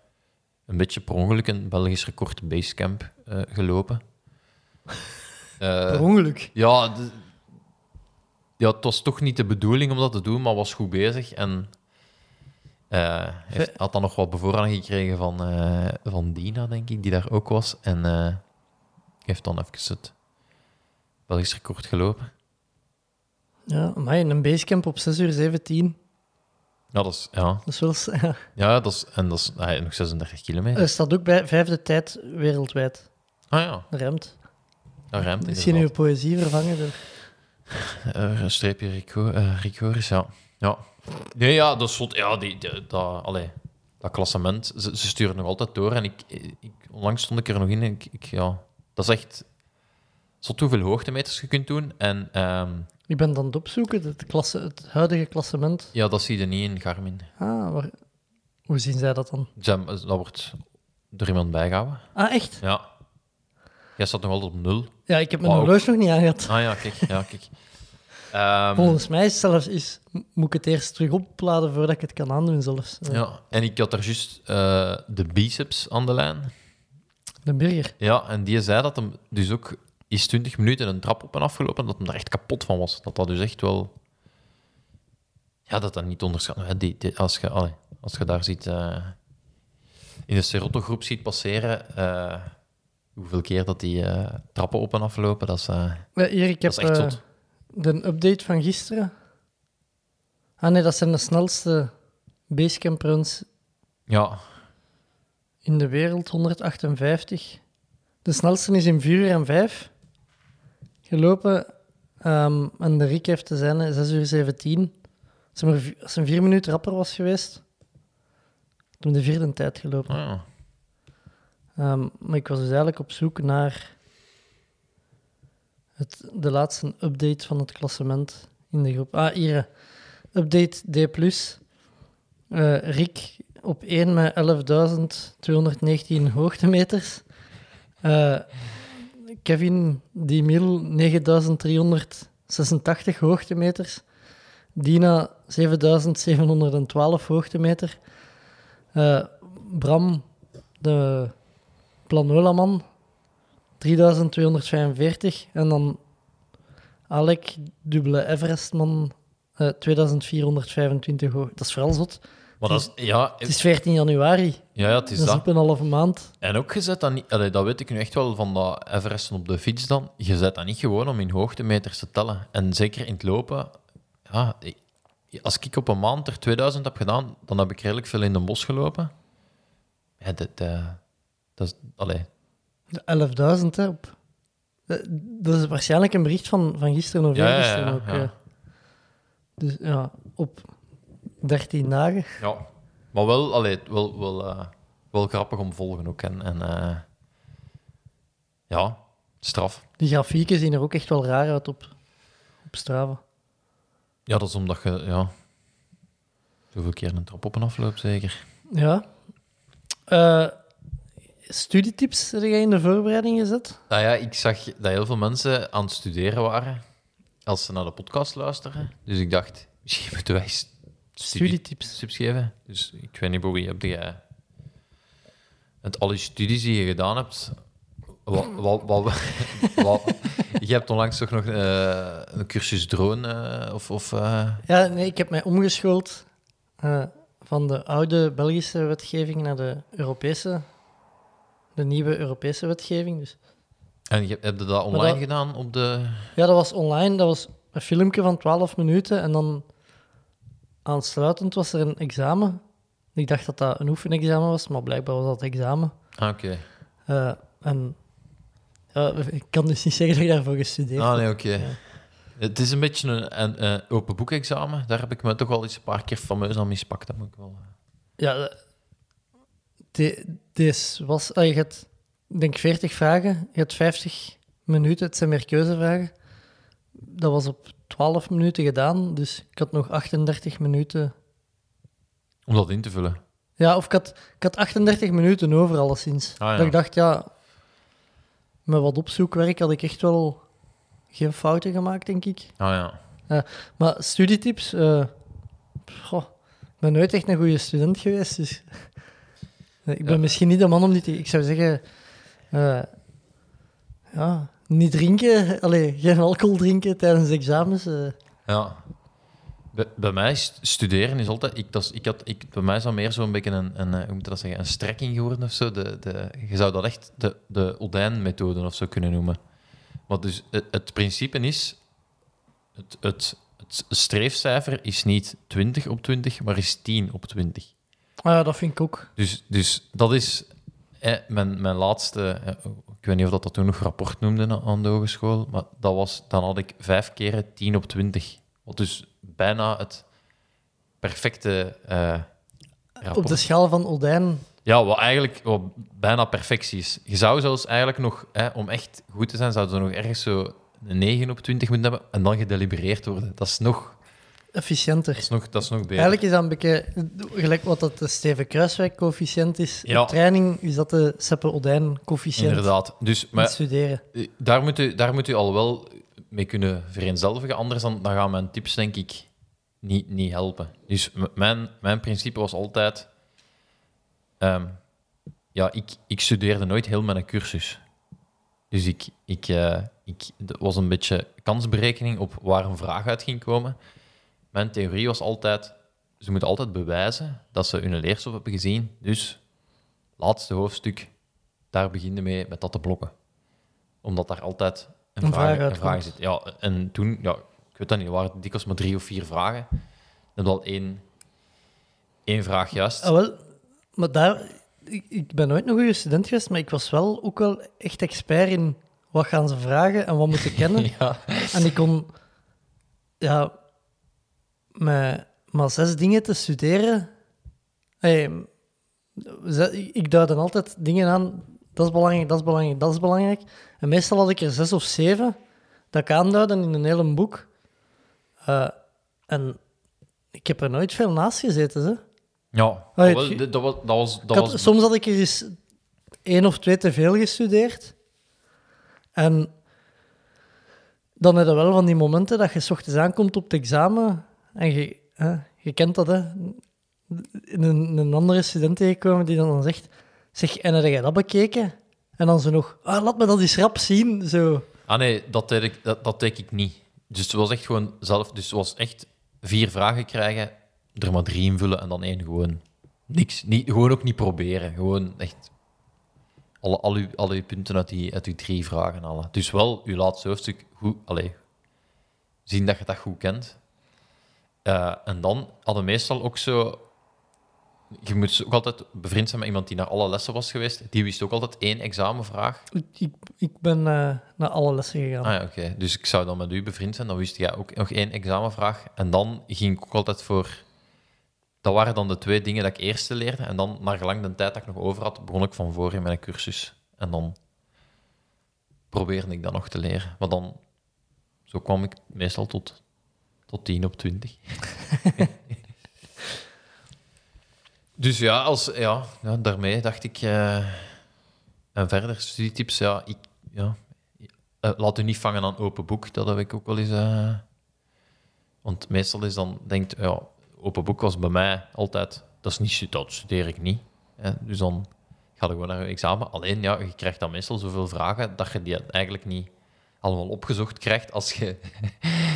een beetje per ongeluk een Belgisch record basecamp eh, gelopen. Eh, Per ongeluk. ja, de- ja, het was toch niet de bedoeling om dat te doen, maar was goed bezig. En eh, heeft, had dan nog wat bevoorrang gekregen van, eh, van Dina, denk ik, die daar ook was. En eh, heeft dan even het Belgisch record gelopen. Ja, maar in een basecamp op 6 uur 17. Ja, dat is, ja. Dat is wel... s- Ja. ja dat is, en dat is ah, ja, nog 36 kilometer. Er staat ook bij vijfde tijd wereldwijd. Ah ja, Remt. dat ruimt Misschien uw inderdaad. poëzie vervangen door... Eh, een streepje Rico, eh, Ricoris, ja. ja. Nee, ja, dat stond... Ja, die, die- dat, allee, dat klassement, ze, ze sturen nog altijd door. En ik, ik, onlangs stond ik er nog in en ik... ik ja, dat is echt... Zot hoeveel hoogtemeters je kunt doen. En ehm, Ik ben dan het opzoeken, het, klasse, het huidige klassement. ja, dat zie je niet in Garmin. Ah, waar... Hoe zien zij dat dan? Zijn- Dat wordt door iemand bijgehouden. Ah, echt? Ja. Jij staat nog altijd op nul. Ja, ik heb mijn Wauw. horloge nog niet aangehad. Ah ja, kijk. Ja, kijk. Ehm, Volgens mij is zelfs is, moet ik het eerst terug opladen voordat ik het kan aandoen zelfs. Eh, ja. En ik had daar juist eh, de biceps aan de lijn. De burger. Ja, en die zei dat hem dus ook is 20 minuten een trap op en afgelopen, dat hem daar echt kapot van was. Dat dat dus echt wel... Ja, dat dat niet onderschat. hè. Die, die- als, je, allee, als je daar ziet... eh, in de Serotto-groep ziet passeren... eh, hoeveel keer dat die eh, trappen op en aflopen, dat is, eh, Eh, Hier, ik heb dat is echt eh, zot. de update van gisteren. Ah nee, dat zijn de snelste basecamp runs Ja, in de wereld, 158. De snelste is in 4 uur en 5 gelopen. Ehm, en de Rick heeft te zijn eh, 6 uur 17. Als hij, maar vi- als hij 4 minuten rapper was geweest, had hij de vierde tijd gelopen. ah ja. Ehm, maar ik was dus eigenlijk op zoek naar het, de laatste update van het klassement in de groep. Ah, hier. eh, Update D+. Eh Rick op 1 met 11.219 hoogtemeters. Eh, Kevin Diemil 9.386 hoogtemeters. Dina 7.712 hoogtemeter. Eh, Bram, de Planolaman, 3245. En dan Alec, dubbele Everestman, eh 2425 hoog. Dat is vooral zot. Maar dat is... Ja, Het is 14 januari, ja, ja, het is dat is dat. op een halve maand. En ook, je zet dat niet... allee, dat weet ik nu echt wel van dat Everesten op de fiets dan. Je zet dat niet gewoon om in hoogtemeters te tellen. En zeker in het lopen... Ja, ik- als ik op een maand er 2000 heb gedaan, dan heb ik redelijk veel in de bos gelopen. Ja, dat, eh, dat is... Allee. De 11.000, hè. Op. Dat- Eh, Dat is waarschijnlijk een bericht van, van gisteren of Ja, ja, eergisteren ja, ook. ja. eh. Dus ja, op 13 dagen. Ja. Maar wel, allee, wel, wel, eh, wel grappig om volgen ook. En, en eh, ja, straf. Die grafieken zien er ook echt wel raar uit op, op Strava. Ja, dat is omdat je... Ja, zoveel keer een trap op en afloopt, zeker. Ja. Eh, studietips heb jij in de voorbereiding gezet? Nou ja, ik zag dat heel veel mensen aan het studeren waren als ze naar de podcast luisteren. Dus ik dacht, misschien moeten wij s- Studietips. tips geven. Dus ik weet niet, Bobby, heb jij met alle studies die je gedaan hebt... Wat, wat, wat, wat- je hebt onlangs toch nog eh, een cursus drone eh, of... of eh, Ja, nee, ik heb mij omgeschoold eh, van de oude Belgische wetgeving naar de Europese, de nieuwe Europese wetgeving. Dus en je, heb je dat online dat- gedaan op de... Ja, dat was online. Dat was een filmpje van 12 minuten. En dan aansluitend was er een examen Ik dacht dat dat een oefenexamen was, maar blijkbaar was dat examen. Ah, oké. Eh, en ja, ik kan dus niet zeggen dat ik daarvoor gestudeerd Ah, heb. nee, oké. Het is een beetje een, een, eh, open boekexamen. Daar heb ik me toch al eens een paar keer fameus aan mispakt. Dat moet ik wel. eh, Ja, de- de- deze was... ah, je hebt, denk ik, 40 vragen. Je hebt 50 minuten. Het zijn meer keuzevragen. Dat was op 12 minuten gedaan, dus ik had nog 38 minuten... Om dat in te vullen. Ja, of ik had, ik had 38 minuten over, alleszins. Ah, ja. Dat ik dacht, ja... Met wat opzoekwerk had ik echt wel geen fouten gemaakt, denk ik. Ah ja. Maar studietips... eh, goh, ik ben nooit echt een goede student geweest, dus... ik ben Ja. misschien niet de man om die te... Ik zou zeggen... eh, ja, niet drinken. Allee, geen alcohol drinken tijdens examens. eh. Ja. Bij, bij mij is studeren is altijd... Ik, dat is- ik had, ik, bij mij is dat meer zo'n beetje een, een, eh, hoe moet je dat zeggen, een strekking geworden of zo. De, de, je zou dat echt de, de Oldijn-methode of zo kunnen noemen. Maar dus het, het principe is... Het, het, het streefcijfer is niet 20 op 20, maar is 10 op 20. Ah, ja, dat vind ik ook. Dus, dus dat is eh, mijn, mijn laatste. eh, ik weet niet of dat, dat toen nog rapport noemde na- aan de hogeschool. Maar dat was, dan had ik vijf keren 10 op 20. Wat dus bijna het perfecte eh, Op rapport. de schaal van Oldijn... Ja, wat eigenlijk wat bijna perfectie is. Je zou zelfs eigenlijk nog, eh, om echt goed te zijn, zouden ze nog ergens zo een 9 op 20 moeten hebben. En dan gedelibereerd worden. Dat is nog, Efficiënter. dat is nog, dat is nog beter. Eigenlijk is dat een beetje gelijk wat dat de Steven Kruiswijk coëfficiënt is. Ja. Op training is dat de Seppe Odijn coëfficiënt Inderdaad. Dus, in het maar studeren. Eh, Daar moet, u, daar moet u al wel mee kunnen vereenzelvigen. Anders dan, dan gaan mijn tips, denk ik, niet, niet helpen. Dus m- mijn, mijn principe was altijd... ehm, ja, ik, ik studeerde nooit heel mijn cursus. Dus ik, ik, eh, ik dat was een beetje kansberekening op waar een vraag uit ging komen. Mijn theorie was altijd... Ze moeten altijd bewijzen dat ze hun leerstof hebben gezien. Dus, laatste hoofdstuk, daar beginnen mee met dat te blokken omdat daar altijd een, Een vraag, vraag een uitkomt. vraag zit. Ja, en toen, ja, ik weet dat niet, waren het dikwijls maar drie of vier vragen. Dan wel één, één vraag juist. Ah, wel, maar daar, ik, ik ben nooit een goede student geweest, maar ik was wel ook wel echt expert in wat gaan ze vragen en wat moeten kennen. Ja. En ik kon ja, met maar zes dingen te studeren. Hey, ze- ik duidde altijd dingen aan. Dat is belangrijk, dat is belangrijk, dat is belangrijk. En meestal had ik er zes of zeven dat ik aanduidde in een hele boek. Eh, en ik heb er nooit veel naast gezeten. Hè. ja. Ah, het wel, ge- dit- dat was... Dat was, dat Ik had- was soms had ik er eens één of twee te veel gestudeerd. En dan heb je wel van die momenten dat je 's ochtends aankomt op het examen. En je, hè, je kent dat, hè. In een, een andere student tegenkomen die dan, dan zegt... Zeg, en heb jij dat bekeken? En dan zo nog... Ah, laat me dat eens rap zien, zo. Ah nee, dat deed, ik, dat, dat deed ik niet. Dus het was echt gewoon zelf... Dus het was echt vier vragen krijgen, er maar drie invullen en dan één gewoon niks. Niet, gewoon ook niet proberen. Gewoon echt... Alle, al, uw, al uw punten uit die, uit uw drie vragen halen. Dus wel uw laatste hoofdstuk goed... Allee, zien dat je dat goed kent. Eh, en dan hadden meestal ook zo... Je moet ook altijd bevriend zijn met iemand die naar alle lessen was geweest. Die wist ook altijd één examenvraag. Ik, ik, ik ben eh, naar alle lessen gegaan. Ah ja, oké. Dus ik zou dan met u bevriend zijn. Dan wist jij ook nog één examenvraag. En dan ging ik ook altijd voor... Dat waren dan de twee dingen dat ik eerst leerde. En dan, naar gelang de tijd dat ik nog over had, begon ik van voor in mijn cursus. En dan probeerde ik dat nog te leren. Maar dan... Zo kwam ik meestal tot, tot 10 op 20. dus ja, als, ja, ja, daarmee dacht ik... eh, en verder, studietips, ja, ik... Ja, eh, laat u niet vangen aan open boek, dat heb ik ook wel eens. eh, want meestal is dan, denkt, ja, open boek was bij mij altijd, dat, is niet, stu- dat studeer ik niet. Hè? Dus dan ga je gewoon naar je examen. Alleen, ja, je krijgt dan meestal zoveel vragen dat je die eigenlijk niet allemaal opgezocht krijgt als je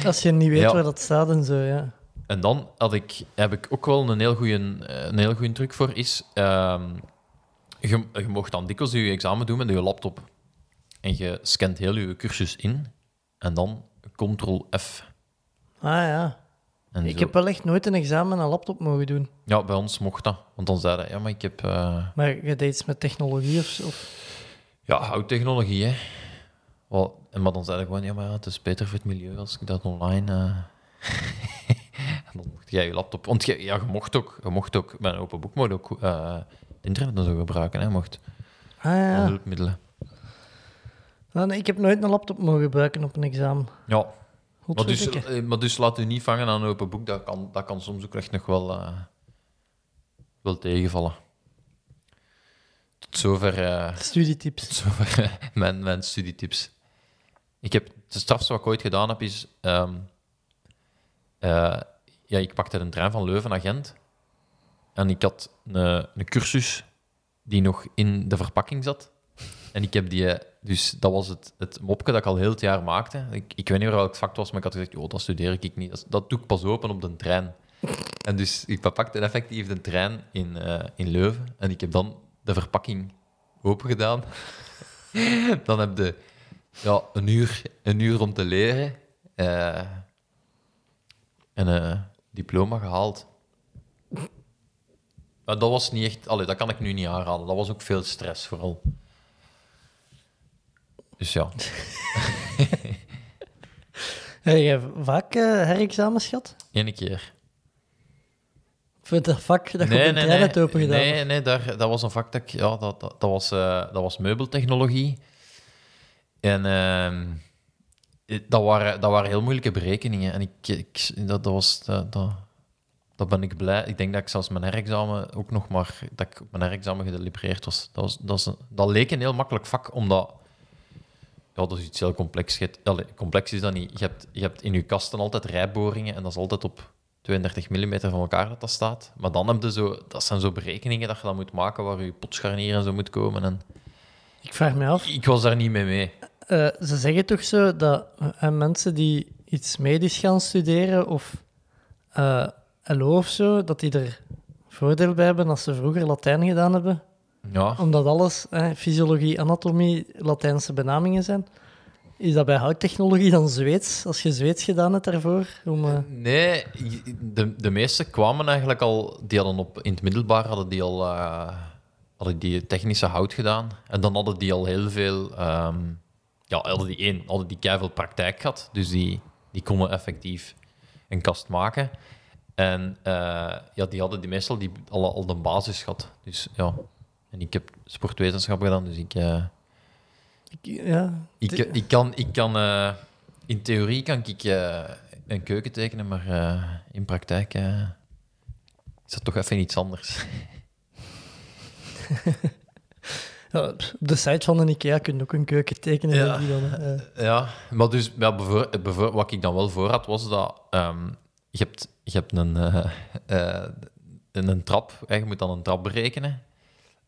Als je niet weet Ah. Ja. waar dat staat en zo, ja. en dan had ik, heb ik ook wel een heel goede een heel goeie truc voor. Is, ehm, je, je mocht dan dikwijls je examen doen met je laptop. En je scant heel je cursus in. En dan ctrl F. Ah ja. En Ik zo. heb wel echt nooit een examen met een laptop mogen doen. Ja, bij ons mocht dat. Want dan zei hij, ja, maar ik heb... eh, Maar je deed iets met technologie of, of Ja, oud-technologie, hè. Wel, en maar dan zei ik gewoon, ja, maar ja, het is beter voor het milieu als ik dat online... eh." en dan mocht jij je laptop... Want jij- ja, je mocht ook, je mocht ook met een open boek mocht ook eh, het internet en zo gebruiken, hè. je Mocht Ah Mhm. ja. hulpmiddelen. Ah, nee, ik heb nooit een laptop mogen gebruiken op een examen. Ja, maar dus, Godverdikke. eh, maar dus laat u niet vangen aan een open boek. Dat kan, dat kan soms ook echt nog wel, eh, wel tegenvallen. Tot zover... eh, Studietips. Tot zover mijn, mijn studietips. Ik heb het strafste wat ik ooit gedaan heb is. ehm, eh, ja, ik pakte een trein van Leuven naar Gent. En ik had een, een cursus die nog in de verpakking zat. En ik heb die. eh, Dus dat was het, het mopje dat ik al heel het jaar maakte. Ik, ik weet niet meer welk vak het was, maar ik had gezegd: oh, dat studeer ik niet. Dat, dat doe ik pas open op de trein. En dus ik pakte effectief de trein in, eh, in Leuven. En ik heb dan de verpakking open gedaan. dan heb je ja, een, uur, een uur om te leren. eh, en een diploma gehaald. Maar dat was niet echt... Allee, dat kan ik nu niet aanraden. Dat was ook veel stress vooral. Dus ja. Heb je vaak eh, herexamens gehad? Eén keer. Voor dat vak dat je op de trein hebt opengedaan? Nee, nee daar, dat was een vak dat ik... Ja, dat, dat, dat was, eh, dat was meubeltechnologie. En ehm, eh, dat, waren, dat waren heel moeilijke berekeningen. En ik, ik, dat, dat was... Dat, dat, dat ben ik blij. Ik denk dat ik zelfs mijn herexamen ook nog maar... Dat ik op mijn herexamen gedelibereerd was. Dat, was, dat, is een- dat leek een heel makkelijk vak, omdat... Ja, dat is iets heel complex. Je hebt- allee, complex is dat niet. Je hebt, je hebt in je kasten altijd rijboringen en dat is altijd op 32 mm van elkaar dat dat staat. Maar dan heb je zo... Dat zijn zo berekeningen dat je dan moet maken waar je potsscharnier en zo moet komen. En Ik vraag me af. ik was daar niet mee mee. Eh, ze zeggen toch zo dat eh, mensen die iets medisch gaan studeren of eh LO of zo, dat die er voordeel bij hebben als ze vroeger Latijn gedaan hebben. Ja, Omdat alles, eh, fysiologie, anatomie, Latijnse benamingen zijn. Is dat bij houttechnologie dan Zweeds? Als je Zweeds gedaan hebt daarvoor? Om, eh, Nee, de, de meesten kwamen eigenlijk al, die hadden op, in het middelbaar hadden die al eh, hadden die technische hout gedaan. En dan hadden die al heel veel, ehm, ja, hadden die één, hadden die keiveel praktijk gehad. Dus die, die konden effectief een kast maken. En eh, ja, die hadden die meestal die, al, al de basis gehad. Dus ja, en ik heb sportwetenschap gedaan, dus ik... eh, ik- ja, ik, De- ik kan, ik kan eh, in theorie kan ik eh, een keuken tekenen, maar eh, in praktijk eh, is dat toch even iets anders. ja, pff, op de site van de IKEA kun je ook een keuken tekenen. Ja. denk ik dan, hè. Eh, ja, maar dus ja, bevoor- eh, bevoor- wat ik dan wel voor had, was dat ehm, je, hebt, je hebt een, eh, eh, een, een trap, hè, je moet dan een trap berekenen.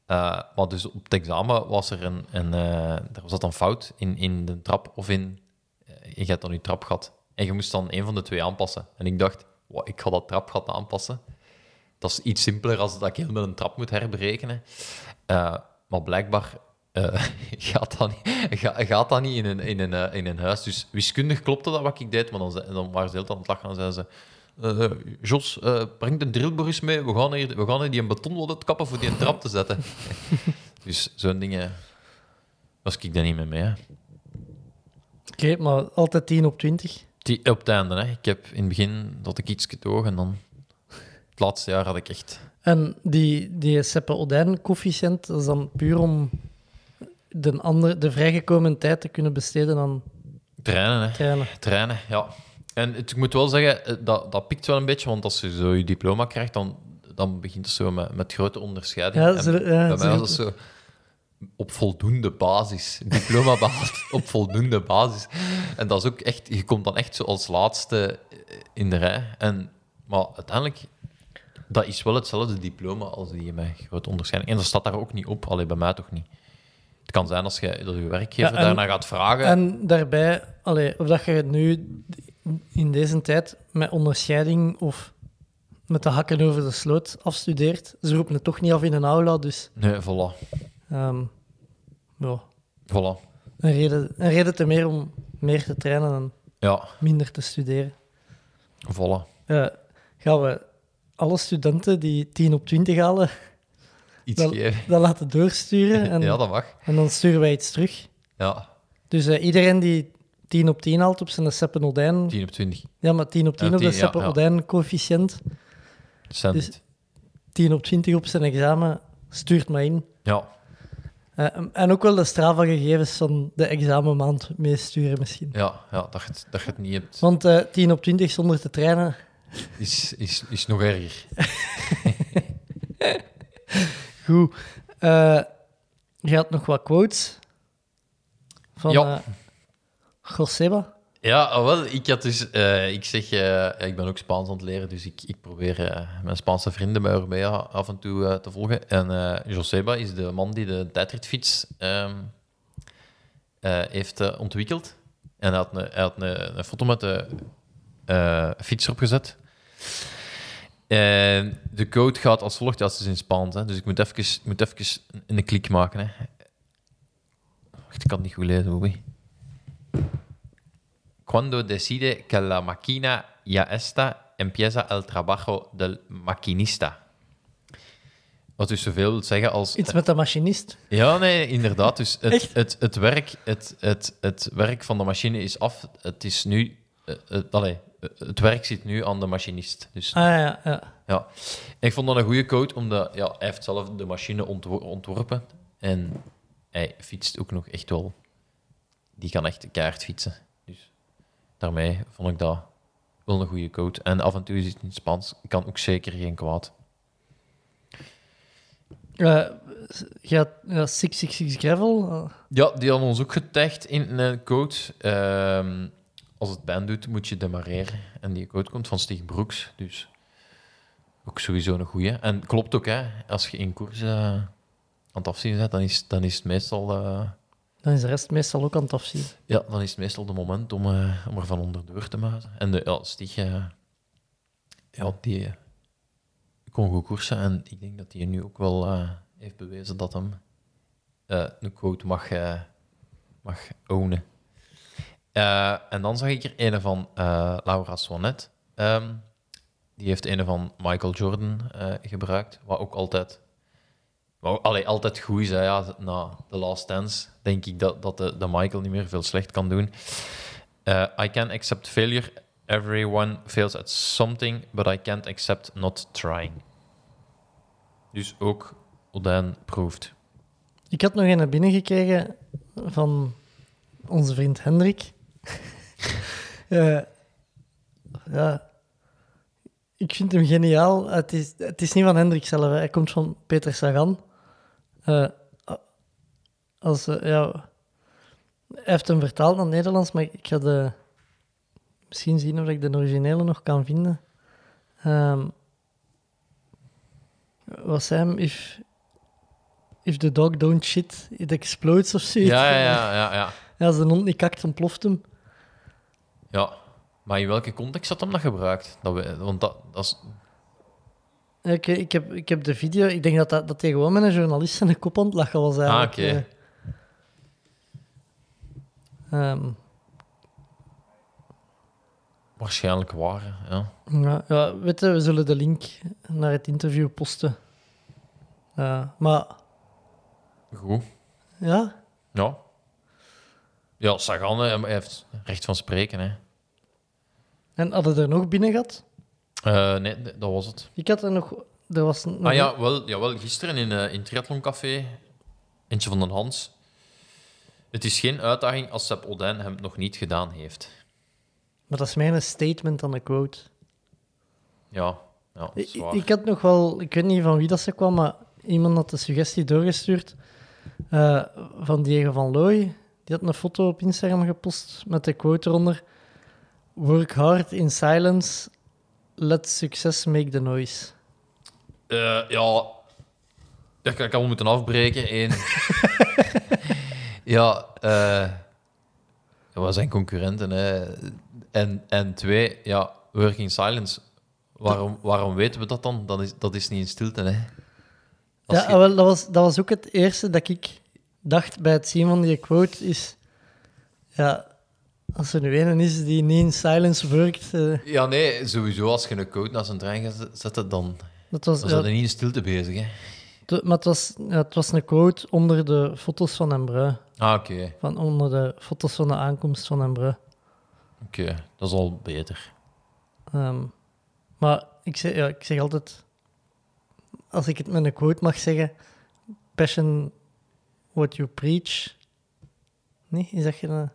Eh, maar dus op het examen was er een, een, eh, er zat een fout in, in de trap of in, eh, je hebt dan je trapgat. En je moest dan een van de twee aanpassen. En ik dacht, "Wow, ik ga dat trapgat aanpassen. Dat is iets simpeler als dat ik heel met een trap moet herberekenen. Eh, maar blijkbaar eh, gaat, dat niet, ga- gaat dat niet in een, in, een, eh, in een huis. Dus wiskundig klopte dat wat ik deed, maar dan, ze- dan waren ze heel aan het lachen en zeiden ze... "Eh, Jos, eh, breng de drillboor eens mee. We gaan, hier, we gaan hier die beton wel uitkappen voor die trap te zetten. dus zo'n dingen was ik daar niet mee mee. hè. Oké, maar altijd 10 op 20. Die, op het einde, hè. Ik heb in het begin dat ik iets getoog en dan... Het laatste jaar had ik echt... En die, die seppe-odijn-coëfficiënt, dat is dan puur om de, andere, de vrijgekomen tijd te kunnen besteden aan Trainen, hè. trainen. Trainen, ja. En het, ik moet wel zeggen, eh, dat, dat pikt wel een beetje, want als je zo je diploma krijgt, dan, dan begint het zo met, met grote onderscheiding. Ja, En zo- ja, bij zo- mij was dat zo op voldoende basis. Diploma behaald op voldoende basis. En dat is ook echt, je komt dan echt zo als laatste eh, in de rij. En, maar uiteindelijk, dat is wel hetzelfde diploma als die met grote onderscheiding. En dat staat daar ook niet op, alleen bij mij toch niet. Het kan zijn als je, dat je werkgever Ja, en- daarna gaat vragen. En daarbij, allee, of dat je nu in deze tijd met onderscheiding of met de hakken over de sloot afstudeert, ze roepen het toch niet af in een aula, dus Nee, voilà. ehm, ja, Voilà. een, reden, een reden te meer om meer te trainen en Ja, minder te studeren. voilà. Ja, gaan we alle studenten die 10 op 20 halen, Iets dat, geven. dat laten doorsturen eh, en, Ja, dat mag. en dan sturen wij iets terug. Ja, Dus eh, iedereen die 10 op 10 haalt op zijn seppen odijn 10 op 20. ja, maar 10 op 10 Ja, op de 10, ja, ja. seppen odijn coëfficiënt, Cent. Dus- 10 op 20 op zijn examen, stuurt maar in. Ja, Eh, en ook wel de Strava-gegevens van de examenmaand meesturen misschien. ja, ja dat, je het, dat je het niet hebt, Want eh 10 op 20 zonder te trainen, is, is, is nog erger. Goed. Eh, je had nog wat quotes van Ja. eh, Joseba. Ja, ah, wel, ik had dus... eh, ik zeg... eh, ja, ik ben ook Spaans aan het leren, dus ik, ik probeer eh, mijn Spaanse vrienden bij Urbea af en toe eh, te volgen. En eh, Joseba is de man die de tijdritfiets ehm, eh, heeft eh, ontwikkeld. En hij had een, hij had een, een foto met de eh, fiets opgezet. En de code gaat als volgt, ja, het is in Spaans, hè, dus ik moet even, ik moet even een, een klik maken. Hè. Wacht, ik kan het niet goed lezen, Bobby. Cuando decide que la máquina ya está, empieza el trabajo del maquinista. Wat dus zoveel wil zeggen als... Iets met de machinist. Ja, nee, inderdaad. Dus het, Echt? het, het, werk, het, het, het werk van de machine is af. Het is nu... eh, het, allee, eh, het werk zit nu aan de machinist. Dus Ah ja, ja. ja. Ik vond dat een goede code, omdat ja, hij heeft zelf de machine ontwo- ontworpen. En hij fietst ook nog echt wel... Die kan echt kaart fietsen. Dus daarmee vond ik dat wel een goede code. En af en toe is het in het Spaans. Kan ook zeker geen kwaad. Eh, je had ja, 666 Gravel. eh, Ja, die hadden ons ook getagd in een code. Ehm, als het pijn doet, moet je demareren. En die code komt van Stig Broeks. Dus ook sowieso een goeie. En klopt ook, hè. Als je in koers eh, aan het afzien bent, dan is, dan is het meestal... eh, dan is de rest meestal ook aan het afzien. ja, dan is het meestal de moment om, eh, om er van onderdoor te maken. En de, ja, Stig... eh, ja, die eh, kon goed koersen. En ik denk dat hij nu ook wel eh, heeft bewezen dat hem eh, een quote mag, eh, mag ownen. Eh, en dan zag ik er een van eh, Laura Swanet. Ehm, die heeft een van Michael Jordan eh, gebruikt. Wat ook altijd, wat ook- allee, altijd goed is. Hè, ja, na The Last Dance denk ik dat, dat de, de Michael niet meer veel slecht kan doen. Eh, I can accept failure. Everyone fails at something, but I can't accept not trying. Dus ook Odijn proeft. Ik had nog een naar binnen gekregen van onze vriend Hendrik. Eh, ja. Ik vind hem geniaal. Het is, het is niet van Hendrik zelf, hè. hij komt van Peter Sagan. Eh, a- als, eh, ja, hij heeft hem vertaald naar het Nederlands, maar ik ga de, misschien zien of ik de originele nog kan vinden. Ehm wat zei hem? If, if the dog don't shit, it explodes of zoiets. Ja, ja, ja, ja, ja. Ja, als de hond niet kakt, ontploft hem. Ja, maar in welke context had hem dat gebruikt? Dat we, want dat, dat is... Ja, Ik, ik, heb, ik heb de video. Ik denk dat, dat, dat hij gewoon met een journalist in de kop aan het lachen was. Ah, Eigenlijk. oké. Eh, ehm, Waarschijnlijk waar, hè, ja. ja, ja, weet je, we zullen de link naar het interview posten. Ja, maar Goed. ja, Ja. Ja, Sagan hè, hij heeft recht van spreken, hè. en hadden er nog binnen gehad? Eh, nee, d- dat was het. Ik had er nog. Er was nog Ah ja, wel, jawel, gisteren in, eh in het Triathlon Café, Eentje van den Hans. Het is geen uitdaging als Sepp Odijn hem nog niet gedaan heeft. Maar dat is mijn statement aan de quote. Ja, ja dat Ik, is waar. ik had nog wel, ik weet niet van wie dat ze kwam, maar iemand had de suggestie doorgestuurd eh, van Diego van Looy. Die had een foto op Instagram gepost met de quote eronder: Work hard in silence, let success make the noise. Eh, ja, dat kan ik allemaal moeten afbreken. Eén. ja, eh we zijn concurrenten. Hè. En, en twee, ja, work in silence. Waarom, waarom weten we dat dan? Dat is, dat is niet in stilte. Hè. Als Ja, je- ah, wel, dat, was, dat was ook het eerste dat ik dacht bij het zien van die quote: is ja, Als er nu een is die niet in silence werkt, eh, Ja, nee, sowieso. Als je een code naar zijn trein gaat zetten, dan dat was, dan ja, zijn er niet in stilte bezig. Hè? de- maar het was, ja, het was een quote onder de foto's van hem brui. Ah, oké. oké Van onder de foto's van de aankomst van hem brui. Dat is al beter. Ehm, maar ik zeg, ja, ik zeg altijd, als ik het met een quote mag zeggen, passion what you preach. Nee, is dat geen... eh,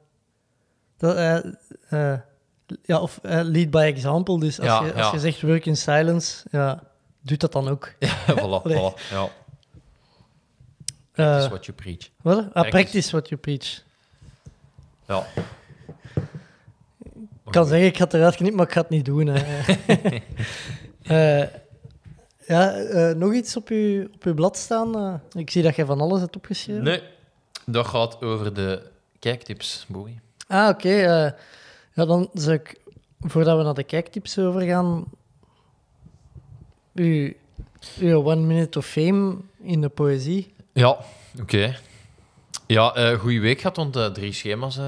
Dat, eh, eh, ja, of eh, lead by example. Dus als, Ja, je, als ja. je zegt work in silence, ja, doet dat dan ook. voilà, Allee. voilà. Ja, Eh, dat is what you preach. wat? Eh, Ah, practice. practice what you preach. Ja. Ik kan zeggen, ik ga het eruit knippen, maar ik ga het niet doen. Hè. Eh, ja, eh, nog iets op uw, op uw blad staan? Eh, ik zie dat jij van alles hebt opgeschreven. Nee, dat gaat over de kijktips, Boegie. Ah, oké. eh, ja, dan zou ik, voordat we naar de kijktips overgaan, uw, uw One Minute of Fame in de poëzie. Ja, oké. Ja, eh goede week gehad, want eh, drie schema's eh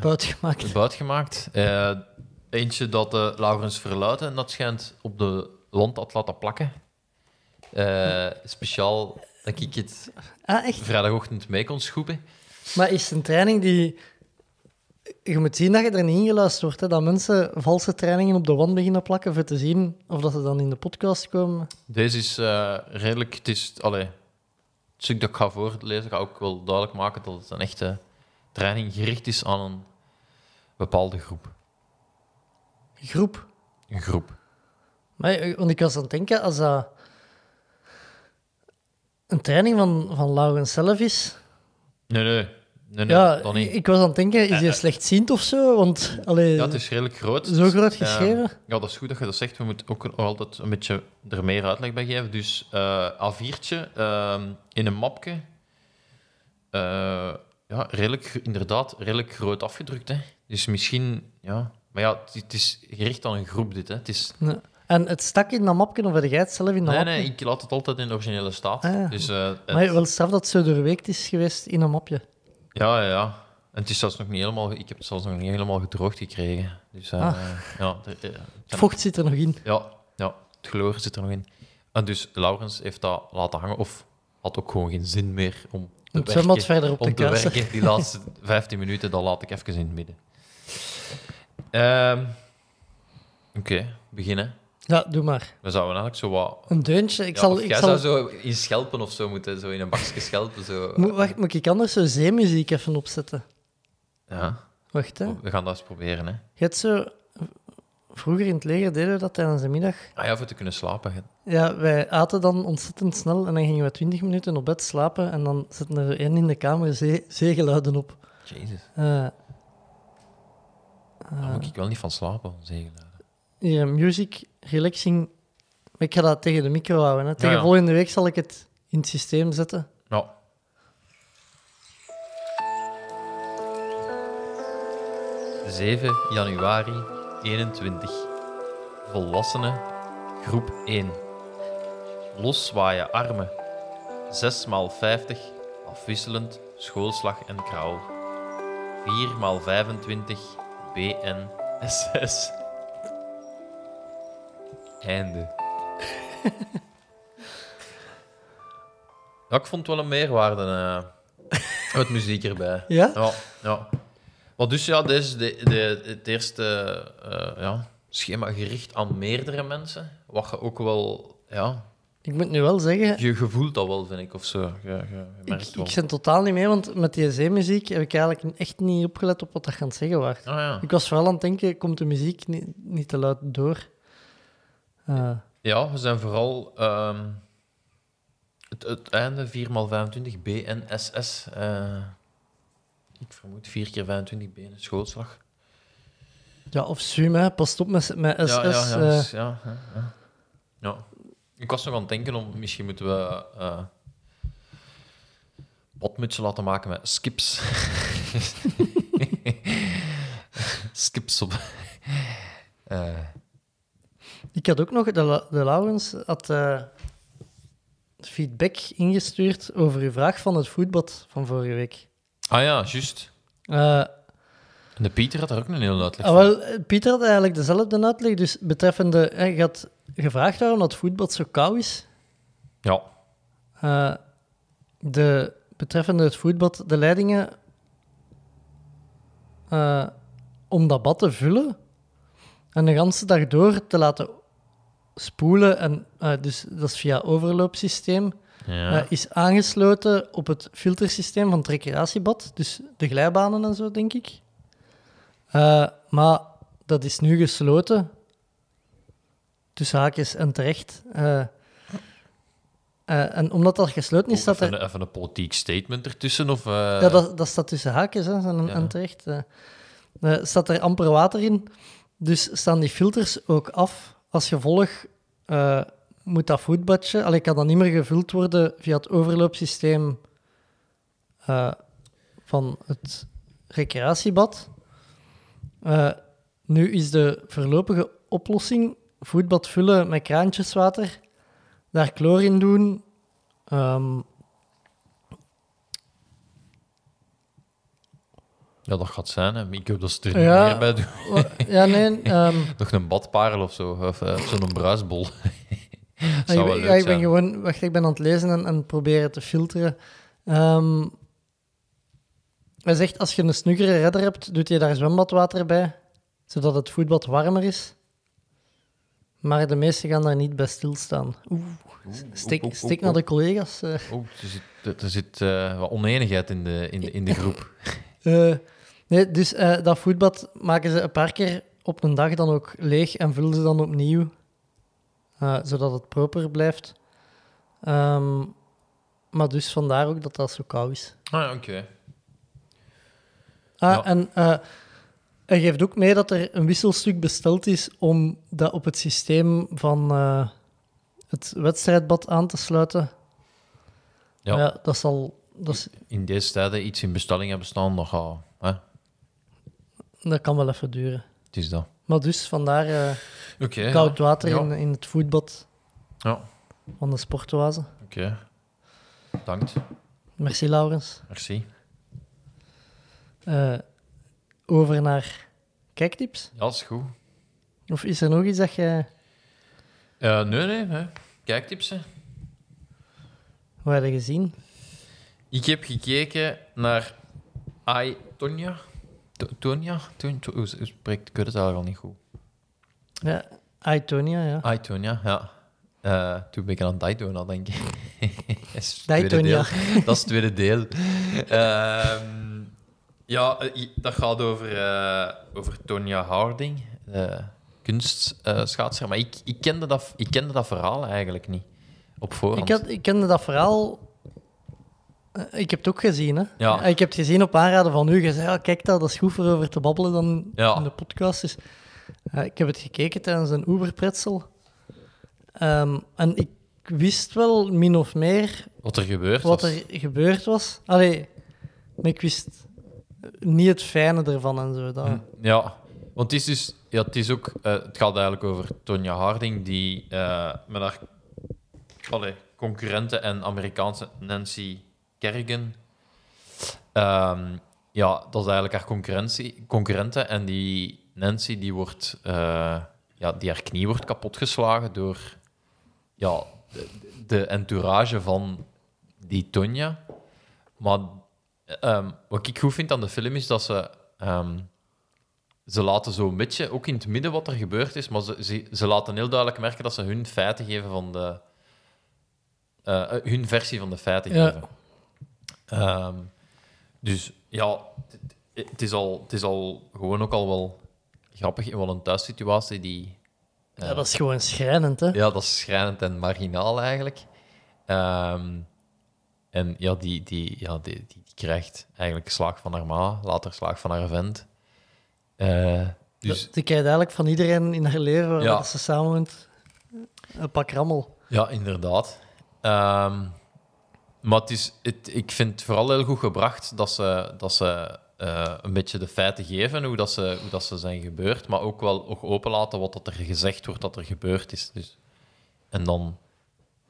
Buiten gemaakt. buiten gemaakt. Eh, eentje dat eh, Laurens Verluiten, en dat schijnt op de wand had laten plakken. Eh, speciaal dat ik het Ah, echt? vrijdagochtend mee kon schoepen. Maar is het een training die... Je moet zien dat je er niet ingeluisterd wordt. Hè? Dat mensen valse trainingen op de wand beginnen plakken voor te zien of dat ze dan in de podcast komen. Deze is eh, redelijk... Het is... Allee, het stuk dat ik ga voorlezen ga ook wel duidelijk maken dat het een echte training gericht is aan een bepaalde groep. Groep. Een groep. Maar, eh, want ik was aan het denken, als dat een training van, van Laurens zelf is... Nee, nee. Nee, nee, ja, dat niet. ik was aan het denken, is hij slechtziend of zo? Want, allee, Ja, het is redelijk groot. Zo groot Ehm, geschreven? ja, dat is goed dat je dat zegt. We moeten ook altijd een beetje er meer uitleg bij geven. Dus eh A4'tje ehm, in een mapje. Eh, ja, redelijk, gro- inderdaad, redelijk groot afgedrukt. Hè. Dus misschien, ja. Maar ja, het, het is gericht aan een groep, dit. Hè. Het is, Nee. En het stak in dat mapje, of had jij het zelf in dat nee, mapje? nee, ik laat het altijd in de originele staat. Ah, ja. dus, eh, het- Maar wel straf dat het zo doorweekt is geweest in een mapje. Ja, ja, ja. En het is zelfs nog niet helemaal, ik heb het zelfs nog niet helemaal gedroogd gekregen. Dus Ah. eh, ja, er- eh, Het vocht zit er nog in. Ja, ja, het gloor zit er nog in. En dus Laurens heeft dat laten hangen of had ook gewoon geen zin meer om te Het zwembad verder op om de te kaas. werken. Die laatste 15 minuten, dat laat ik even in het midden. Ehm, Oké, beginnen. Ja, doe maar. We zouden eigenlijk zo wat... Een deuntje. Ik ja, zal... of Ik jij zal... zou zo in schelpen of zo moeten, zo in een bakje schelpen. Zo. Moet, wacht, moet ik anders zo zeemuziek even opzetten? Ja, Wacht, hè. we gaan dat eens proberen. Hè. Je hebt zo... Vroeger in het leger deden we dat tijdens de middag. Ah ja, voor te kunnen slapen. hè. Ja, wij aten dan ontzettend snel en dan gingen we twintig minuten op bed slapen en dan zitten er één in de kamer zee, zeegeluiden op. Jezus, Eh, Ah. daar moet ik wel niet van slapen, zegelen. hier, music, relaxing. Maar ik ga dat tegen de micro houden. Hè. Tegen Ja, ja. volgende week zal ik het in het systeem zetten. Ja. ...7 januari 21. Volwassenen, groep 1. Loszwaaien armen. 6 x 50, afwisselend, schoolslag en kraal. 4 x 25, BN, SS. Einde. Ja, ik vond het wel een meerwaarde. eh met muziek erbij. Ja? Ja. ja. Maar dus ja, deze is de, de, het eerste eh, ja, schema gericht aan meerdere mensen. Wat je ook wel... Ja, Ik moet nu wel zeggen, je gevoelt dat wel, vind ik, of zo. Je, je, je ik, merkt wel. ik zit totaal niet mee, want met die zeemuziek heb ik eigenlijk echt niet opgelet op wat dat gaan zeggen was. Ah, ja. Ik was vooral aan het denken, komt de muziek niet, niet te luid door? Eh, ja, we zijn vooral... ehm, het, het einde 4x25, BNSS. eh ik vermoed 4x25 BN schoolslag. ja, of Sum, hè. Pas op met, met SS. ja, ja, ja, eh. dus, ja, ja, ja. Ja. Ik was nog aan het denken om misschien moeten we eh botmutsen laten maken met skips. skips op. Eh, Ik had ook nog, de, La- de Laurens had eh, feedback ingestuurd over uw vraag van het voetbad van vorige week. ah ja, juist. Eh, En de Pieter had daar ook een hele uitleg Ah, van. wel, eh, Pieter had eigenlijk dezelfde uitleg. Dus betreffende, eh, je had gevraagd waarom dat voetbal zo koud is. Ja. Eh, de, betreffende het voetbal, de leidingen. eh, om dat bad te vullen en de ganse dag door te laten spoelen. En, eh, dus dat is via overloopsysteem. ja. eh, is aangesloten op het filtersysteem van het recreatiebad. Dus de glijbanen en zo, denk ik. Eh, maar dat is nu gesloten. Tussen haakjes en terecht. Eh, eh, en omdat dat gesloten is, Oh, staat even, er... een, even een politiek statement ertussen? Of, eh, Ja, dat, dat staat tussen haakjes hè, en, Ja. en terecht. eh. Eh, staat er amper water in. Dus staan die filters ook af. Als gevolg eh, moet dat voetbadje... Allee, kan dat niet meer gevuld worden via het overloopsysteem eh, van het recreatiebad. Eh, nu is de voorlopige oplossing voetbad vullen met kraantjeswater, daar kloor in doen... ehm, ja, dat gaat zijn. Hè. Ik hoop dat ze er Ja. niet meer bij doen. wa- ja, nee... ehm, Nog een badparel of zo. Of eh, zo'n bruisbol. Ah, Zou ik wel ben, leuk ja, ik ben zijn. gewoon, wacht, ik ben aan het lezen en, en proberen te filteren. Ehm, hij zegt, als je een snuggere redder hebt, doet je daar zwembadwater bij, zodat het voetbad warmer is. Maar de meesten gaan daar niet bij stilstaan. Oeh, stik, oeh, oeh, stik oeh. naar de collega's. eh. Oh, er zit, er zit eh, wat oneenigheid in de, in de, in de groep. Eh, nee, dus eh, dat voetbad maken ze een paar keer op een dag dan ook leeg en vullen ze dan opnieuw, eh, zodat het proper blijft. Ehm, maar dus vandaar ook dat dat zo koud is. Ah, oké. Ah, Ja. en eh, hij geeft ook mee dat er een wisselstuk besteld is om dat op het systeem van eh, het wedstrijdbad aan te sluiten. Ja. Ja, dat zal... Dat, is- In deze tijden iets in bestelling hebben staan, dan ga... Hè? dat kan wel even duren. Het is dat. Maar dus vandaar eh, Oké. koud ja. water Ja. in, in het voetbad Ja, oké. van de sportoase. Bedankt. Merci, Laurens. Merci. Eh, over naar kijktips. Ja, is goed. Of is er nog iets dat jij... Eh, nee, nee. Hè. Kijktips, hè. Hoe heb je gezien? Ik heb gekeken naar Ai Tonya. To- Tonya? Ton- to- Hoe hoe spreekt ik weet het eigenlijk al niet goed? Ja, Aitonia, ja. Ai Tonya, ja. Eh, toen ben ik aan Daytona, denk ik. Dat is het tweede Daytona. deel. Dat is het tweede deel. Ehm, ja, eh, i- dat gaat over, eh, over Tonya Harding, de kunstschaatser. maar ik, ik, kende dat, ik kende dat verhaal eigenlijk niet op voorhand. Ik, had, ik kende dat verhaal. Eh, Ik heb het ook gezien, hè? Eh, Ja. Ik heb het gezien op aanraden van u. Je zei, ja, kijk daar, dat is goed voor over te babbelen dan Ja. in de podcast. Dus, eh, ik heb het gekeken tijdens een Uber-pretsel. Ehm, en ik wist wel min of meer Wat er gebeurt. wat dat- er gebeurd was. Allee, maar ik wist niet het fijne ervan en zo. Hm. Dat, Mm, Ja, want het is dus, ja, het is ook, eh, het gaat eigenlijk over Tonya Harding, die eh, met haar allee, concurrenten en Amerikaanse Nancy Kerrigan, ehm, ja, dat is eigenlijk haar concurrentie, concurrenten. En die Nancy, die wordt, eh, ja, die haar knie wordt kapotgeslagen door, ja, de, de entourage van die Tonya. Maar ehm, wat ik goed vind aan de film is dat ze ehm, ze laten zo'n beetje, ook in het midden wat er gebeurd is, maar ze, ze, ze laten heel duidelijk merken dat ze hun feiten geven van de... eh, eh, hun versie van de feiten Ja. geven. Ehm, dus ja, het- het- het is, al, het is al gewoon ook al wel grappig in wel een thuissituatie die... eh, ja, dat is gewoon schrijnend, hè? ja, dat is schrijnend en marginaal eigenlijk. Ehm, en ja, die, die, ja die, die, die krijgt eigenlijk slaag van haar ma, later slaag van haar vent. Eh, dus Dus... Die krijgt eigenlijk van iedereen in haar leven waar Ja. dat ze samen woont, een pak rammel. ja, inderdaad. Ehm, maar het is, het, ik vind het vooral heel goed gebracht dat ze, dat ze eh, een beetje de feiten geven, hoe, dat ze, hoe dat ze zijn gebeurd, maar ook wel ook openlaten wat dat er gezegd wordt dat er gebeurd is. Dus, en dan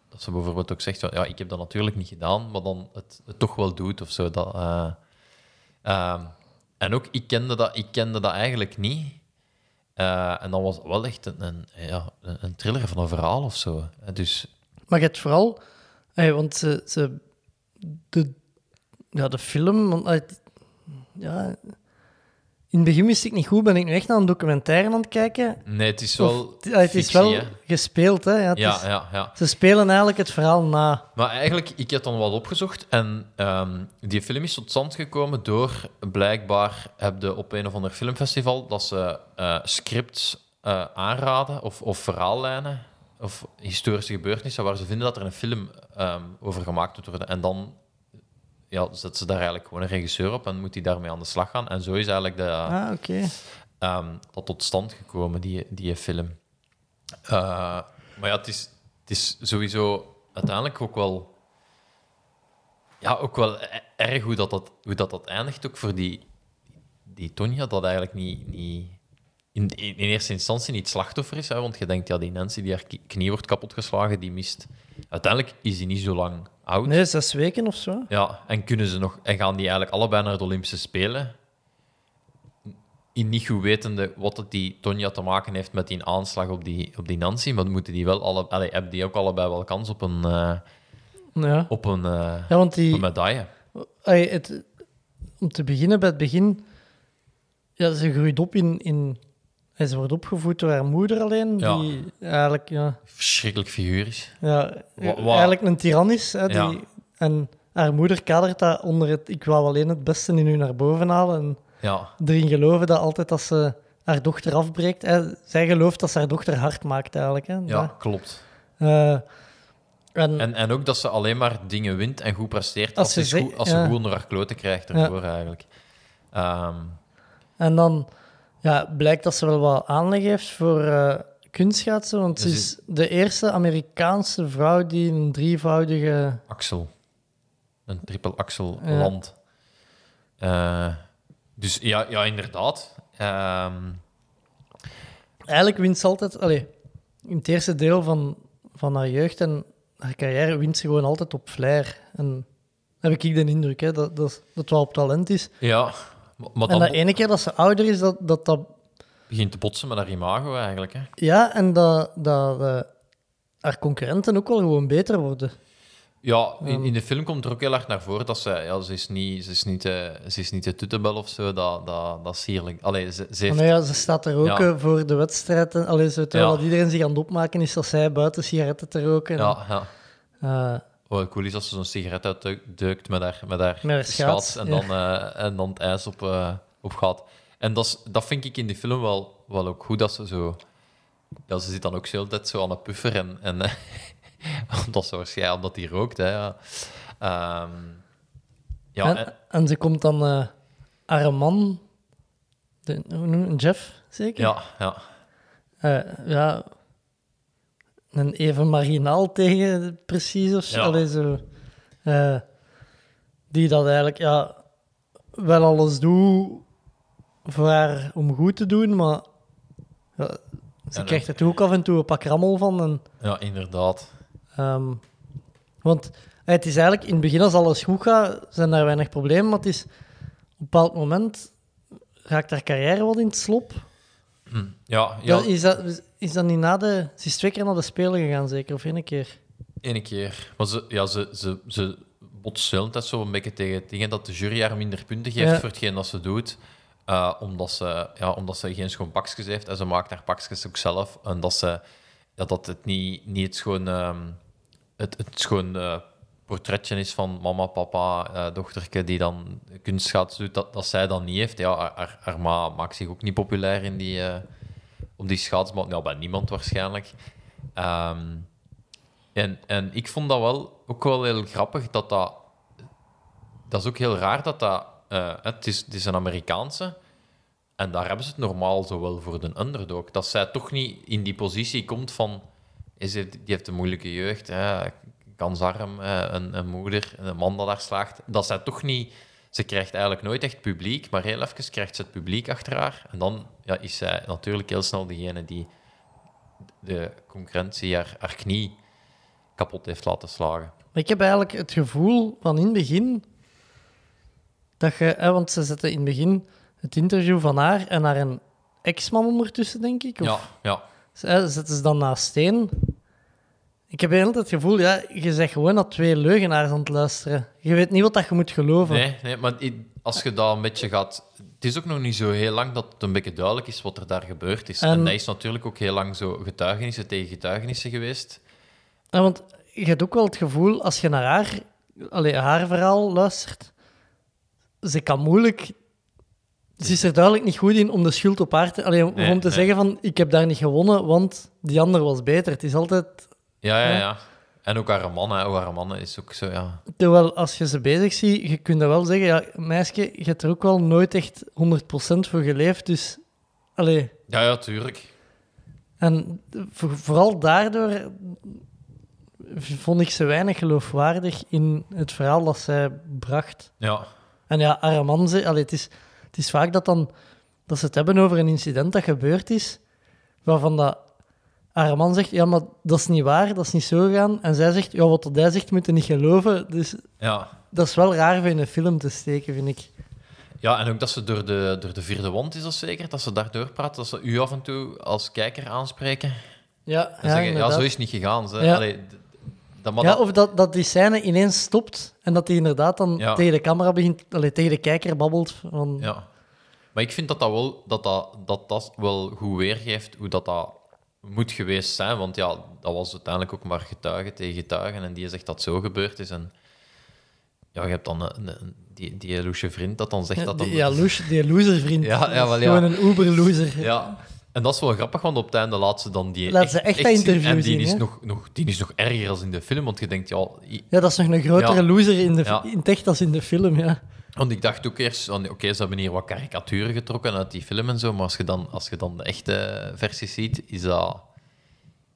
dat ze bijvoorbeeld ook zegt, van, ja, ik heb dat natuurlijk niet gedaan, maar dan het, het toch wel doet of zo. Dat, eh, ehm, En ook, ik kende dat, ik kende dat eigenlijk niet. Eh, en dat was wel echt een, een, ja, een een thriller van een verhaal of zo. Eh, Dus Maar je hebt vooral... eh, want ze, ze- de, ja, de film... want, eh, ja, in het begin wist ik niet goed, ben ik nu echt naar een documentaire aan het kijken. nee, het is Of- wel. eh, het is fictie, wel hè. gespeeld, hè. Ja, het Ja, is- ja, ja. Ze spelen eigenlijk het verhaal na. Maar eigenlijk, ik heb dan wat opgezocht en ehm, die film is tot stand gekomen door blijkbaar heb je op een of ander filmfestival dat ze eh, scripts eh, aanraden of, of verhaallijnen of historische gebeurtenissen waar ze vinden dat er een film ehm, over gemaakt moet worden. En dan ja, zetten ze daar eigenlijk gewoon een regisseur op en moet die daarmee aan de slag gaan. En zo is eigenlijk de, Ah, oké. ehm, dat tot stand gekomen, die, die film. Eh, maar ja, het is, het is sowieso uiteindelijk ook wel, ja, ook wel e- erg hoe dat, dat, hoe dat, dat eindigt. Ook voor die, die Tonja, dat eigenlijk niet, niet in, in eerste instantie niet slachtoffer is. Hè, want je denkt, ja, die Nancy die haar ki- knie wordt kapotgeslagen, die mist. Uiteindelijk is die niet zo lang oud. Nee, zes weken of zo. Ja, en kunnen ze nog en gaan die eigenlijk allebei naar de Olympische Spelen? In niet goed wetende wat het die Tonja te maken heeft met die aanslag op die, op die Nancy, maar moeten die wel alle, allee, hebben die ook allebei wel kans op een, eh, Ja, op een, eh, ja want op die... een medaille? Ai, het, om te beginnen bij het begin. Ja, ze groeit op in. in en ze wordt opgevoed door haar moeder alleen. Ja. Die eigenlijk, ja, Verschrikkelijk figuur is. ja, Wa- wa- eigenlijk een tiran is. Hè, die, Ja. En haar moeder kadert dat onder het. Ik wou alleen het beste in u naar boven halen. En Ja, erin geloven dat altijd als ze haar dochter afbreekt. Hè, zij gelooft dat ze haar dochter hard maakt eigenlijk. Hè, ja Dat- klopt. Eh, en, En, en ook dat ze alleen maar dingen wint en goed presteert Als als, ze ze, ze- goed, als ze ja. goed onder haar kloten krijgt ervoor eigenlijk. Ehm, en dan ja, blijkt dat ze wel wat aanleg heeft voor eh kunstschaatsen. Want ze Dus is de eerste Amerikaanse vrouw die een drievoudige... axel. Een triple axel Ja. land. Eh, dus ja, ja inderdaad. Ehm, Eigenlijk wint ze altijd... Allee, in het eerste deel van, van haar jeugd en haar carrière wint ze gewoon altijd op flair. En heb ik de indruk hè, dat, dat, dat wel op talent is. ja, maar, maar En dan dat e- ene keer dat ze ouder is, dat dat, dat begint te botsen met haar imago eigenlijk. Hè. Ja, en dat, dat eh, haar concurrenten ook wel gewoon beter worden. Ja, in, in de film komt er ook heel erg naar voren dat ze... Ja, ze is niet, ze is niet, de, ze is niet de tutebel of zo, dat, dat, dat is sierlijk. Allee, ze, ze heeft... Maar Oh, ja, ze staat er ook Ja. eh, voor de wedstrijd. En, allee, zo, terwijl Ja. dat iedereen zich aan het opmaken is dat zij buiten sigaretten te roken. ja, ja. Eh, Oh, cool is als ze zo'n sigaret uitduikt met haar, met haar, Met haar schaats, en, dan, eh, en dan het ijs op, eh, op gaat. En dat, is- dat vind ik in die film wel, wel ook goed, dat ze zo... Ja, ze zit dan ook zo de hele tijd zo aan een puffer en... en eh, omdat ze waarschijnlijk omdat die rookt, hè. Ja, Ehm, ja en, en- en ze komt dan eh haar man, de, hoe noem je hem? Jeff zeker? ja, ja. Eh, ja. Een even marginaal tegen, precies. Of zo. Ja. Allee, zo. Eh, die dat eigenlijk ja, wel alles doet voor haar om goed te doen, maar ja, ze dat- krijgt er toch ook af en toe een pak rammel van. En, ja, inderdaad. ehm, want eh, het is eigenlijk in het begin, als alles goed gaat, zijn daar weinig problemen. Maar het is op een bepaald moment raakt haar carrière wat in het slop. Ja, ja Dat, is, dat, is dat niet na de... Ze is twee keer naar de Spelen gegaan, zeker? Of één keer? Eén keer. Maar ze, ja, ze, ze, ze botst heel de tijd zo een beetje tegen het ding hè, dat de jury haar minder punten geeft Ja. voor hetgeen dat ze doet. eh, omdat, ze, ja, omdat ze geen schoon pakjes heeft en ze maakt haar pakjes ook zelf. En dat, ze, ja, dat het niet, niet het schoon, ehm, het, het schoon eh, portretje is van mama, papa, eh dochterke die dan kunstschaats doet, dat, dat zij dan niet heeft. Ja, haar, haar, haar ma maakt zich ook niet populair in die, eh, op die schaatsbaan. Ja, bij niemand waarschijnlijk. Ehm, en, en ik vond dat wel ook wel heel grappig dat dat. Dat is ook heel raar dat dat. eh, het, is, het is een Amerikaanse. En daar hebben ze het normaal zo wel voor de underdog. Dat zij toch niet in die positie komt van. Is het, die heeft een moeilijke jeugd, hè, kansarm, eh, een, een moeder, een man dat daar slaagt. Dat zij toch niet. Ze krijgt eigenlijk nooit echt publiek, maar heel even krijgt ze het publiek achter haar. En dan ja, is zij natuurlijk heel snel degene die de concurrentie haar, haar knie kapot heeft laten slagen. Maar ik heb eigenlijk het gevoel van in het begin... Dat je... Hè, want ze zetten in het begin... het interview van haar en haar een ex-man ondertussen, denk ik. Of, Ja, ja. Ze- Zetten ze dan naast steen. Ik heb heel het gevoel, ja, je zegt gewoon naar twee leugenaars aan het luisteren. Je weet niet wat dat je moet geloven. Nee, nee, maar i- als je daar een beetje gaat... Het is ook nog niet zo heel lang dat het een beetje duidelijk is wat er daar gebeurd is. En, En- dat is natuurlijk ook heel lang zo getuigenissen tegen getuigenissen geweest. Ja, want je hebt ook wel het gevoel, als je naar haar, allee, haar verhaal luistert, ze kan moeilijk... Ze is er duidelijk niet goed in om de schuld op haar te... Allee, om, Nee, om te nee. zeggen van, ik heb daar niet gewonnen, want die ander was beter. Het is altijd... Ja, ja, ja. En ook haar man, hè. Ook haar man is ook zo, ja. Terwijl als je ze bezig ziet, je kunt dat wel zeggen, ja, meisje, je hebt er ook wel nooit echt 100% voor geleefd, dus... Allee, Ja, ja, tuurlijk. en vo- vooral daardoor vond ik ze weinig geloofwaardig in het verhaal dat zij bracht. Ja, En ja, Araman, ze, allee, het, is, het is vaak dat, dan, dat ze het hebben over een incident dat gebeurd is, waarvan dat Araman zegt, ja, maar dat is niet waar, dat is niet zo gegaan. En zij zegt, ja, wat dat hij zegt, moet je niet geloven. Dus ja. dat is wel raar voor in een film te steken, vind ik. Ja, en ook dat ze door de, door de vierde wond is, dat zeker. Dat ze daardoor praat, dat ze u af en toe als kijker aanspreken. Ja, En ja, zeggen, ja, inderdaad. zo is het niet gegaan. Ze. Ja. Allee, d- dat, maar ja, dat- of dat, dat die scène ineens stopt en dat hij inderdaad dan Ja. tegen de camera begint, allee, tegen de kijker babbelt. Van, Ja. Maar ik vind dat dat wel, dat dat, dat, dat wel goed weergeeft hoe dat, dat moet geweest zijn. Want ja, dat was uiteindelijk ook maar getuige tegen getuigen. En die zegt dat zo gebeurd is. En ja, je hebt dan een, een- die, die loesje vriend dat dan zegt dat dan... dus. die, ja, loes- die loservriend. Ja, ja, wel, ja. Gewoon een uber-loser. Ja. En dat is wel grappig, want op het einde laat ze dan die... Laat ze echt dat zien. interview En die zien, is hè? nog, nog, die is nog erger als in de film, want je denkt, ja... i- Ja, dat is nog een grotere Ja. loser in, de, Ja. in het echt als in de film, ja. Want ik dacht ook eerst, van, oké, ze hebben hier wat karikaturen getrokken uit die film en zo, maar als je dan, als je dan de echte versies ziet, is dat,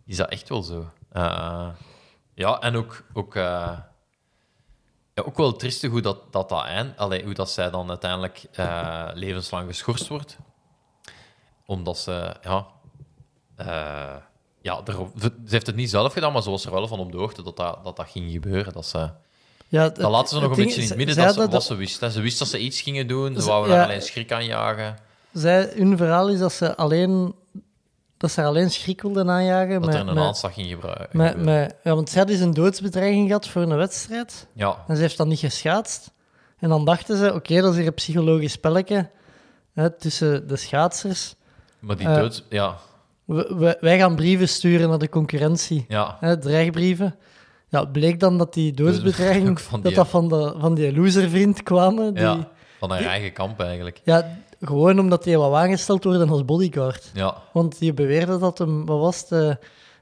is dat echt wel zo. Eh, ja, en ook, ook, eh, ja, ook wel triestig hoe dat, dat, dat eind, allee, hoe dat zij dan uiteindelijk eh, levenslang geschorst wordt. Omdat ze, ja, eh, ja er, ze heeft het niet zelf gedaan, maar ze was er wel van op de hoogte dat dat, dat, dat ging gebeuren. Dat ze, Ja, het- dat laten ze nog een het ding beetje in is, het midden, zij dat ze, hadden wat ze wist. hè. Ze wist dat ze iets gingen doen, ze Ze- wouden daar ja. alleen schrik aan jagen. Zij, hun verhaal is dat ze alleen, dat ze haar alleen schrik wilden aanjagen. Dat met, er een met- aanslag ging gebruiken. met- met- ja, want zij had eens een doodsbedreiging gehad voor een wedstrijd. Ja, En ze heeft dat niet geschaatst. En dan dachten ze, oké, dat is hier een psychologisch spelletje hè, tussen de schaatsers. maar die Eh. dood... Ja, We- we- wij gaan brieven sturen naar de concurrentie. ja. Hè, dreigbrieven. Ja, bleek dan dat die doodsbedreiging, Dus Ook van die- dat dat van, de, van die loservriend kwamen. Die, ja. Van haar eigen kamp eigenlijk. ja, gewoon omdat die wou aangesteld worden als bodyguard. Ja. Want die beweerde dat hem, wat was het, eh,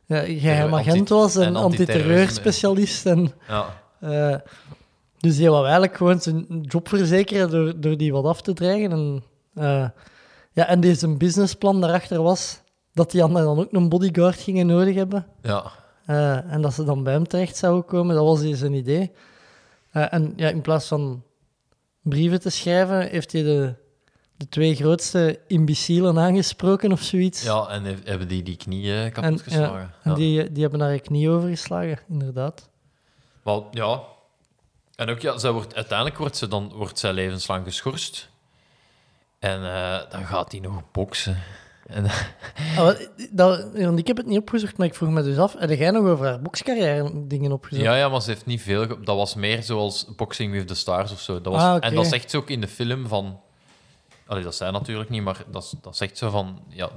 ja, geheim Anti- agent was en en antiterrorisme. antiterreurspecialist. En, ja. eh, dus die wou eigenlijk gewoon zijn job verzekeren door, door die wat af te dreigen. En, eh, ja, en die zijn businessplan daarachter was dat die anderen dan ook een bodyguard gingen nodig hebben. Ja. Eh, en dat ze dan bij hem terecht zouden komen, dat was dus een idee. Eh, en ja, in plaats van brieven te schrijven, heeft hij de, de twee grootste imbecielen aangesproken of zoiets. ja, en hef- hebben die die knieën kapot En, geslagen. ja, en Ja. die, die hebben daar een knie over geslagen, inderdaad. Maar, ja. En ook, ja, zij wordt, uiteindelijk wordt, ze dan, wordt zij levenslang geschorst. En eh, dan gaat die nog boksen. En, Ah, wel, dat, want ik heb het niet opgezocht, maar ik vroeg me dus af, heb jij nog over haar bokscarrière dingen opgezocht? Ja, ja, maar ze heeft niet veel. ge- Dat was meer zoals Boxing with the Stars of zo. Dat was, Ah, oké. En dat zegt ze ook in de film van. Allee, dat zij natuurlijk niet, maar dat, is- dat zegt ze van. Ja,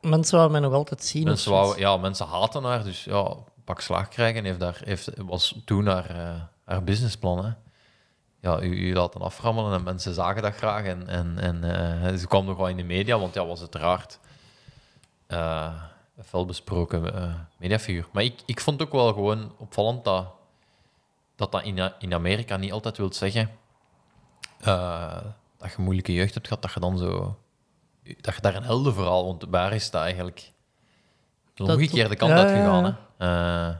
Mensen wouden mij nog altijd zien. of mensen, zoiets. wouden, ja, mensen haten haar, dus ja, pak slaag krijgen. Heeft daar, heeft, was toen haar, eh, haar businessplan. Hè. Ja, u, u laat dan aframmelen en mensen zagen dat graag. En, en, en eh, ze kwam nog wel in de media, want ja, was uiteraard eh een felbesproken eh, mediafiguur. Maar ik, ik vond ook wel gewoon opvallend dat dat, dat in, in Amerika niet altijd wil zeggen eh, dat je moeilijke jeugd hebt gehad, dat je dan zo... Dat je daar een heldenverhaal, want waar is dat eigenlijk? De Dat- omgekeerde kant ja, uit gegaan. ja, hè. Eh,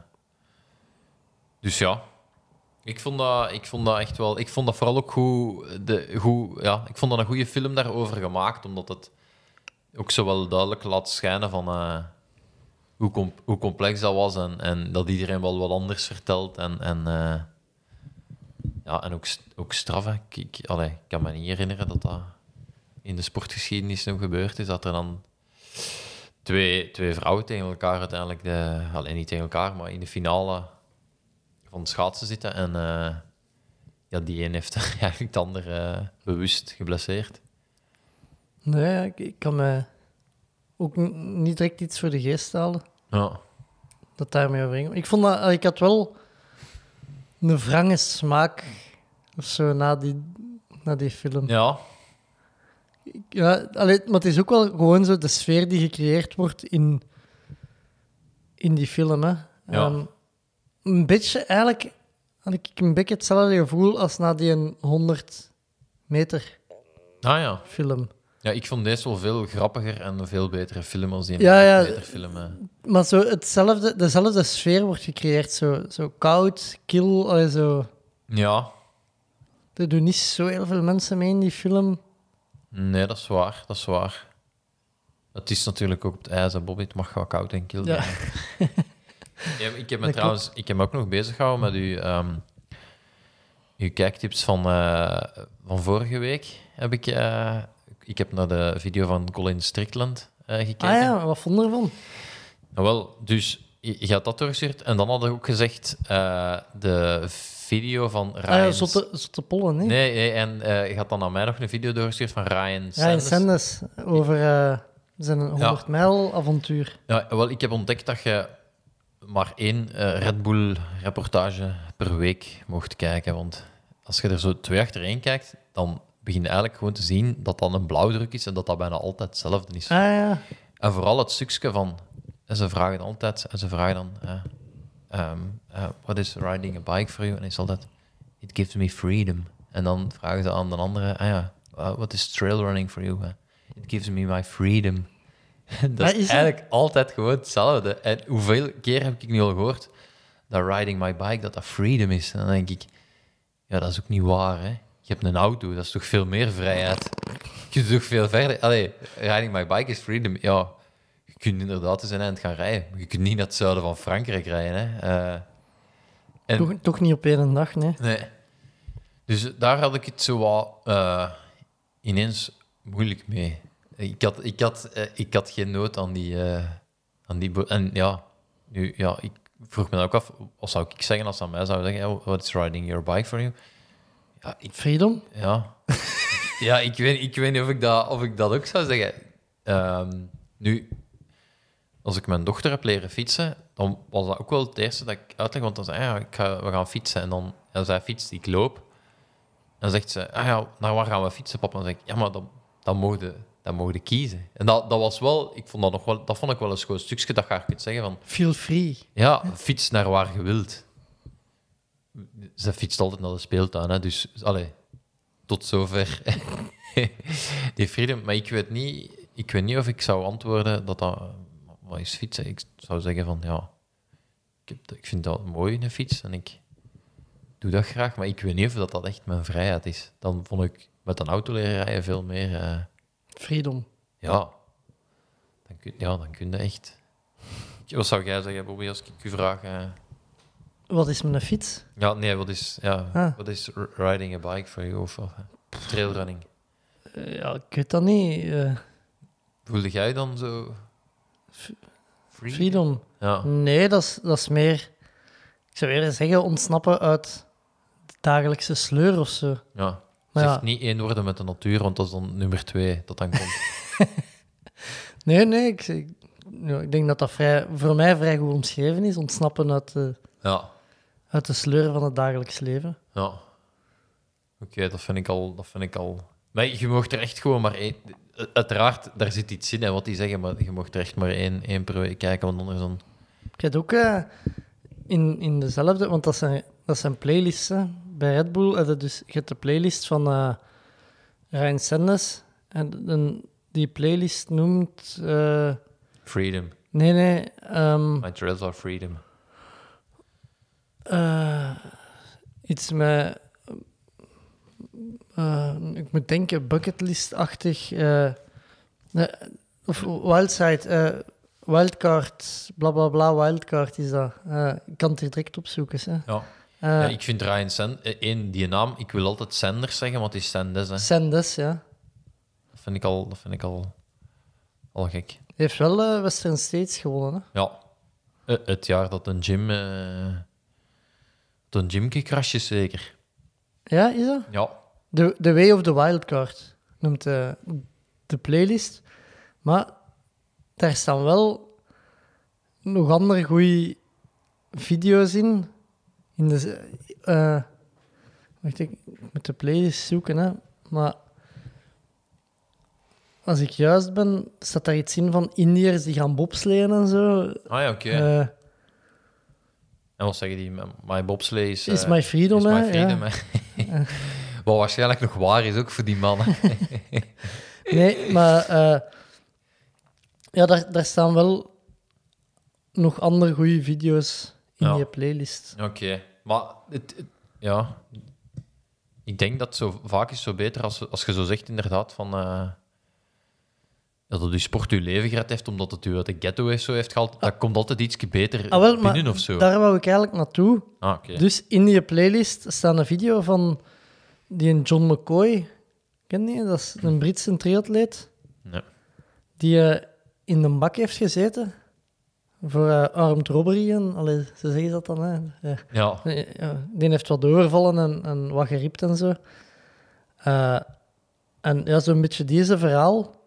dus ja, ik vond, dat, ik vond dat echt wel... Ik vond dat vooral ook goed... De, goed ja, ik vond dat een goede film daarover gemaakt, omdat het ook zo wel duidelijk laat schijnen van... eh, hoe, com- hoe complex dat was en, en dat iedereen wel wat anders vertelt. En, en, eh, ja, en ook, st- ook straf. hè. Ik, ik, allee, ik kan me niet herinneren dat dat... in de sportgeschiedenis nog gebeurd is, dat er dan twee, twee vrouwen tegen elkaar uiteindelijk, de, alleen niet tegen elkaar, maar in de finale van het schaatsen zitten. En eh, ja, die een heeft eigenlijk de ander eh, bewust geblesseerd. Nee, ja, ik, ik kan me ook n- niet direct iets voor de geest halen Ja. dat daarmee overeenkomt. Ik vond dat, eh, ik had wel een wrange smaak of zo na die, na die film. ja, Ja, allee, maar het is ook wel gewoon zo de sfeer die gecreëerd wordt in, in die film. Hè. Ehm, een beetje, eigenlijk had ik een beetje hetzelfde gevoel als na die 100 meter ah ja. film. Ja, ik vond deze wel veel grappiger en een veel betere film als die Ja, ja. betere film. eh. Maar zo hetzelfde, dezelfde sfeer wordt gecreëerd. Zo, zo koud, kil, allee, zo. Ja, Er doen niet zo heel veel mensen mee in die film. Ah nee, dat is waar. Dat is waar. Het is natuurlijk ook op het ijs, hè, Bobby. Het mag wel koud en kil Ja. zijn. Ja, maar ik heb me klopt. trouwens ik heb me ook nog bezig gehouden met uw, ehm, uw kijktips van, eh, van vorige week. Heb ik, eh, ik heb naar de video van Colin Strickland eh, gekeken. Ah ja, wat vond je ervan? Nou wel, dus je, je had dat doorgestuurd. En dan had ik ook gezegd eh, de video van Ryan... Ah ja, zotte, zotte pollen, hè? Nee, nee, en eh, je had dan aan mij nog een video doorgestuurd van Ryan Ryan Sanders. Sanders over eh, zijn 100 mijl avontuur. Ja, wel, ik heb ontdekt dat je maar één eh, Red Bull-reportage per week mocht kijken. Want als je er zo twee achtereen kijkt, dan begin je eigenlijk gewoon te zien dat dat een blauwdruk is en dat dat bijna altijd hetzelfde is. Ah ja, En vooral het stukje van... En ze vragen dan altijd... En ze vragen dan... eh, ehm, eh, what is riding a bike for you? En is altijd... It gives me freedom. En dan vragen ze aan de andere... Ah ja, eh, what is trail running for you? Eh, it gives me my freedom. Ah, dat is, is dat- eigenlijk altijd gewoon hetzelfde. En hoeveel keer heb ik nu al gehoord... Dat riding my bike, dat dat freedom is. En dan denk ik... Ja, dat is ook niet waar, hè. Je hebt een auto, dat is toch veel meer vrijheid. Je kunt toch veel verder... Allee, riding my bike is freedom. Ja, je kunt inderdaad eens een eind gaan rijden. maar Je kunt niet naar het zuiden van Frankrijk rijden, hè. Eh, en- toch, toch niet op één dag, nee. Nee. Dus daar had ik het zo wat eh, ineens moeilijk mee. Ik had, ik had, eh, ik had geen nood aan die... eh, aan die bo- en ja, nu, ja, ik vroeg me dan ook af... Wat zou ik zeggen als ze aan mij zouden zeggen... "Oh, What is riding your bike for you? Ja, ik Ah, Freedom? ja. ja, ik weet, ik weet niet of ik dat, of ik dat ook zou zeggen. Ehm, nu, als ik mijn dochter heb leren fietsen, dan was dat ook wel het eerste dat ik uitleg. Want dan zei hij, ja, ik ga, we gaan fietsen. En dan ja, zij fietst, ik loop. Dan zegt ze, ah ja, naar waar gaan we fietsen, papa? En dan zeg ik, ja, maar dan, dan mogen dan mogen kiezen. En dat, dat was wel, ik vond dat nog wel, dat vond ik wel een schoon stukje dat je haar kunt zeggen van, Feel free. ja, fiets naar waar je wilt. Ze fietst altijd naar de speeltuin, hè, dus allee, tot zover. Die freedom, maar ik weet, niet, ik weet niet of ik zou antwoorden dat dat. Wat is fietsen? Ik zou zeggen van ja, ik, heb, ik vind dat mooi, een fiets, en ik doe dat graag, maar ik weet niet of dat, dat echt mijn vrijheid is. Dan vond ik met een auto leren rijden veel meer. eh, Freedom. ja. Dan kun, ja, dan kun je echt. Wat zou jij zeggen, Bobby, als ik u vraag? eh, Wat is mijn fiets? Ja, nee, wat is, ja, Ah. wat is r- riding a bike voor jou? Of, of eh, trailrunning? Eh, ja, ik weet dat niet. eh, Voelde jij dan zo... Free? freedom. Ja. Nee, dat is, dat is meer... Ik zou eerder zeggen, ontsnappen uit de dagelijkse sleur of zo. ja. Maar Zeg ja. niet één woorden met de natuur, want dat is dan nummer twee dat dan komt. Nee, nee, ik, ik, ja, ik denk dat dat vrij, voor mij vrij goed omschreven is. Ontsnappen uit de, ja, uit de sleur van het dagelijks leven. ja. Oké, dat vind ik al... Dat vind ik al... Maar je mag er echt gewoon maar één... Uiteraard, daar zit iets in, hè, wat die zeggen, maar je mag er echt maar één, één per week kijken, want anders dan... Ik heb ook eh, in, in dezelfde, want dat zijn, dat zijn playlisten. Bij Red Bull heb je dus je hebt de playlist van eh Ryan Sanders. En, en die playlist noemt. eh, Freedom. nee, nee. ehm, My trails are freedom. eh, iets met. eh, ik moet denken, bucketlist-achtig. eh, nee, of Wildside. eh, wildcard, bla bla bla, wildcard is dat. Eh, ik kan het hier direct opzoeken. Hè. Ja. Eh, ja, ik vind Ryan eh, Sanders... één, die naam, ik wil altijd Sanders zeggen, want die is Sanders, hè. Sanders, ja. Dat vind ik al, dat vind ik al, al gek. Heeft wel eh, Western States gewonnen. Hè? Ja. Eh, het jaar dat een gym... eh dat een gym gecrashed is, zeker. Ja, is dat? Ja. The, the Way of the Wildcard noemt eh, de playlist. Maar daar staan wel nog andere goede video's in. in de, z- eh, wacht, ik moet de playlist zoeken, hè. Maar als ik juist ben, staat daar iets in van Indiërs die gaan bobsleeën en zo. Ah ja, oké. Eh, En wat zeggen die? My bobslee is... is eh, My Freedom, is hè. my ja. freedom, hè. Wat waarschijnlijk nog waar is ook voor die mannen. Nee, maar eh, ja, daar, daar staan wel nog andere goede video's in Ja. je playlist. Oké, maar het, het- ja. Ik denk dat zo vaak is zo beter als, als je zo zegt inderdaad van eh, dat het je sport je leven gered heeft omdat het u uit de ghetto heeft, zo heeft gehaald. Dat komt altijd iets beter Ah, wel, binnen maar Eh, of zo. daar wou ik eigenlijk naartoe. Ah, oké. Dus in je playlist staat een video van die een John McCoy. Ken je? Dat is een Britse triatleet. Nee. Die eh, in de bak heeft gezeten voor eh, armed robbery. En, allee, ze zeggen dat dan, hè. Ja. Ja, Nee, ja, Die heeft wat doorvallen en, en wat geriept en zo. Eh, en ja, zo'n beetje deze verhaal.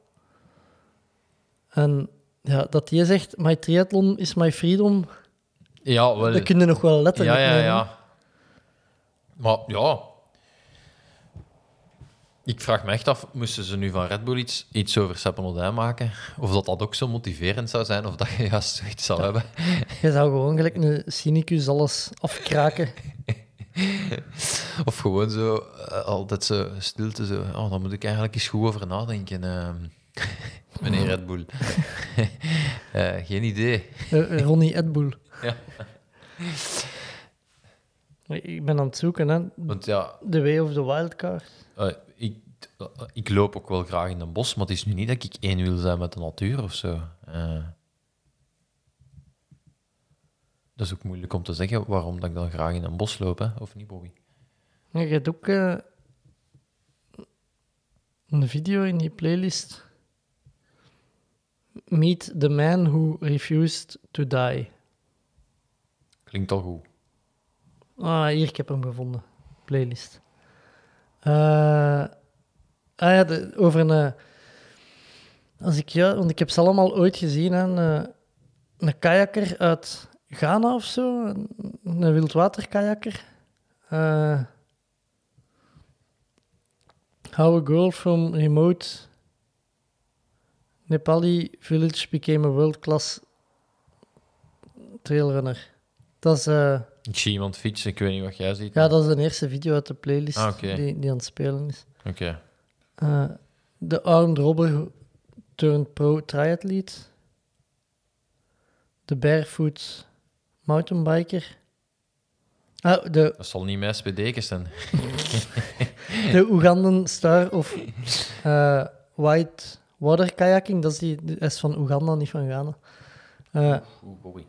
En ja, dat je zegt, my triathlon is my freedom. ja wel. Dat kun je nog wel letten. Ja, ja, ja. Maar ja. Ik vraag me echt af, moesten ze nu van Red Bull iets, iets over Seppelodijn maken? Of dat dat ook zo motiverend zou zijn, of dat je juist zoiets zou hebben. Je zou gewoon gelijk een cynicus alles afkraken. Of gewoon zo, eh, altijd zo stilte, zo. Oh, daar moet ik eigenlijk eens goed over nadenken, ehm, meneer Red Bull. Eh, geen idee. Eh, Ronnie Edboel. Ja. Ik ben aan het zoeken, hè. Want ja, The Way of the Wildcard. eh, ik, ik loop ook wel graag in een bos, maar het is nu niet dat ik één wil zijn met de natuur of zo. Eh, dat is ook moeilijk om te zeggen waarom dat ik dan graag in een bos loop, hè? of niet, Bobby? Ja, je hebt ook eh, een video in die playlist. Meet the man who refused to die. Klinkt al goed. Ah, hier, ik heb hem gevonden. Playlist. Eh, ah ja, de- over een... eh, als ik, ja, want ik heb ze allemaal ooit gezien. Hè, een, eh, een kajakker uit Ghana of zo. Een, een wildwaterkajakker. Eh, how a girl from remote Nepali village became a world-class trailrunner. Dat is... eh, Ik zie iemand fietsen, ik weet niet wat jij ziet. ja, dat is de eerste video uit de playlist Ah, oké. die, die aan het spelen is. Oké. Eh, De Armed Robber turned pro triathlete. De Barefoot mountainbiker. Ah, de, Dat zal niet mijn spd'kens zijn. de Ugandan Star of eh, White Water Kayaking. Dat is, die, die is van Oeganda, niet van Ghana. Eh, Oeh, Bobby.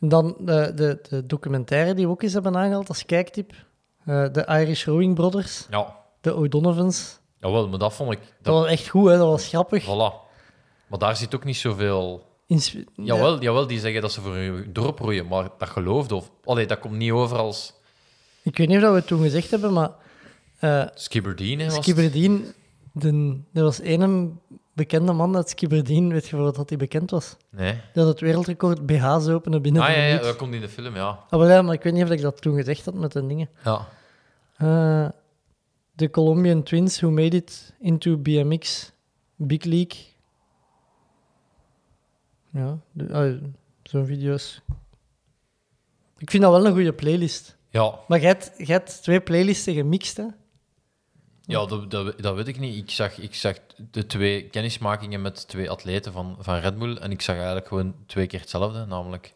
Dan de, de, de documentaire die we ook eens hebben aangehaald als kijktip. Eh, de Irish Rowing Brothers, Ja, de O'Donovans. jawel, maar dat vond ik... Dat Dat, was echt goed, hè? dat was grappig. voilà. Maar daar zit ook niet zoveel... Insp- Jawel, jawel, die zeggen dat ze voor hun dorp roeien, maar dat geloofde of... Allee, dat komt niet over als Ik weet niet of dat we het toen gezegd hebben, maar eh Skibbereen, hè, was het? Skibbereen, de, er was één bekende man uit Skibbereen, weet je voor wat hij bekend was? Nee. Die had het wereldrecord BH's openen binnen Ah, een ja, ja, minuut. dat komt in de film, ja. Ah, wel, ja, maar ik weet niet of ik dat toen gezegd had met de dingen. Ja. Eh, De Colombian Twins who made it into BMX Big League. Ja, de- ah, zo'n video's. Ik vind dat wel een goede playlist. Ja, Maar jij hebt, jij hebt twee playlisten gemixt, hè? ja dat, dat, dat weet ik niet. Ik zag, ik zag de twee kennismakingen met twee atleten van, van Red Bull en ik zag eigenlijk gewoon twee keer hetzelfde, namelijk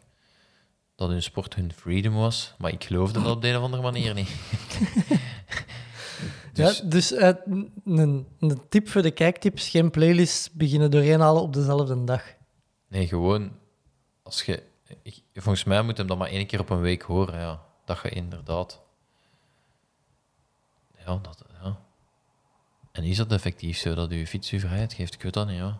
dat hun sport hun freedom was, maar ik geloofde dat op de een of andere manier niet. Dus- Ja, dus eh, n- een, een tip voor de kijktips, geen playlists beginnen doorheen halen op dezelfde dag. Nee, gewoon als je. ik- volgens mij moet hem dat maar één keer op een week horen. Ja. Dat je inderdaad. Ja, dat. Ja. En is dat effectief zo dat uw fiets uw vrijheid geeft? Ik weet dat niet, hoor.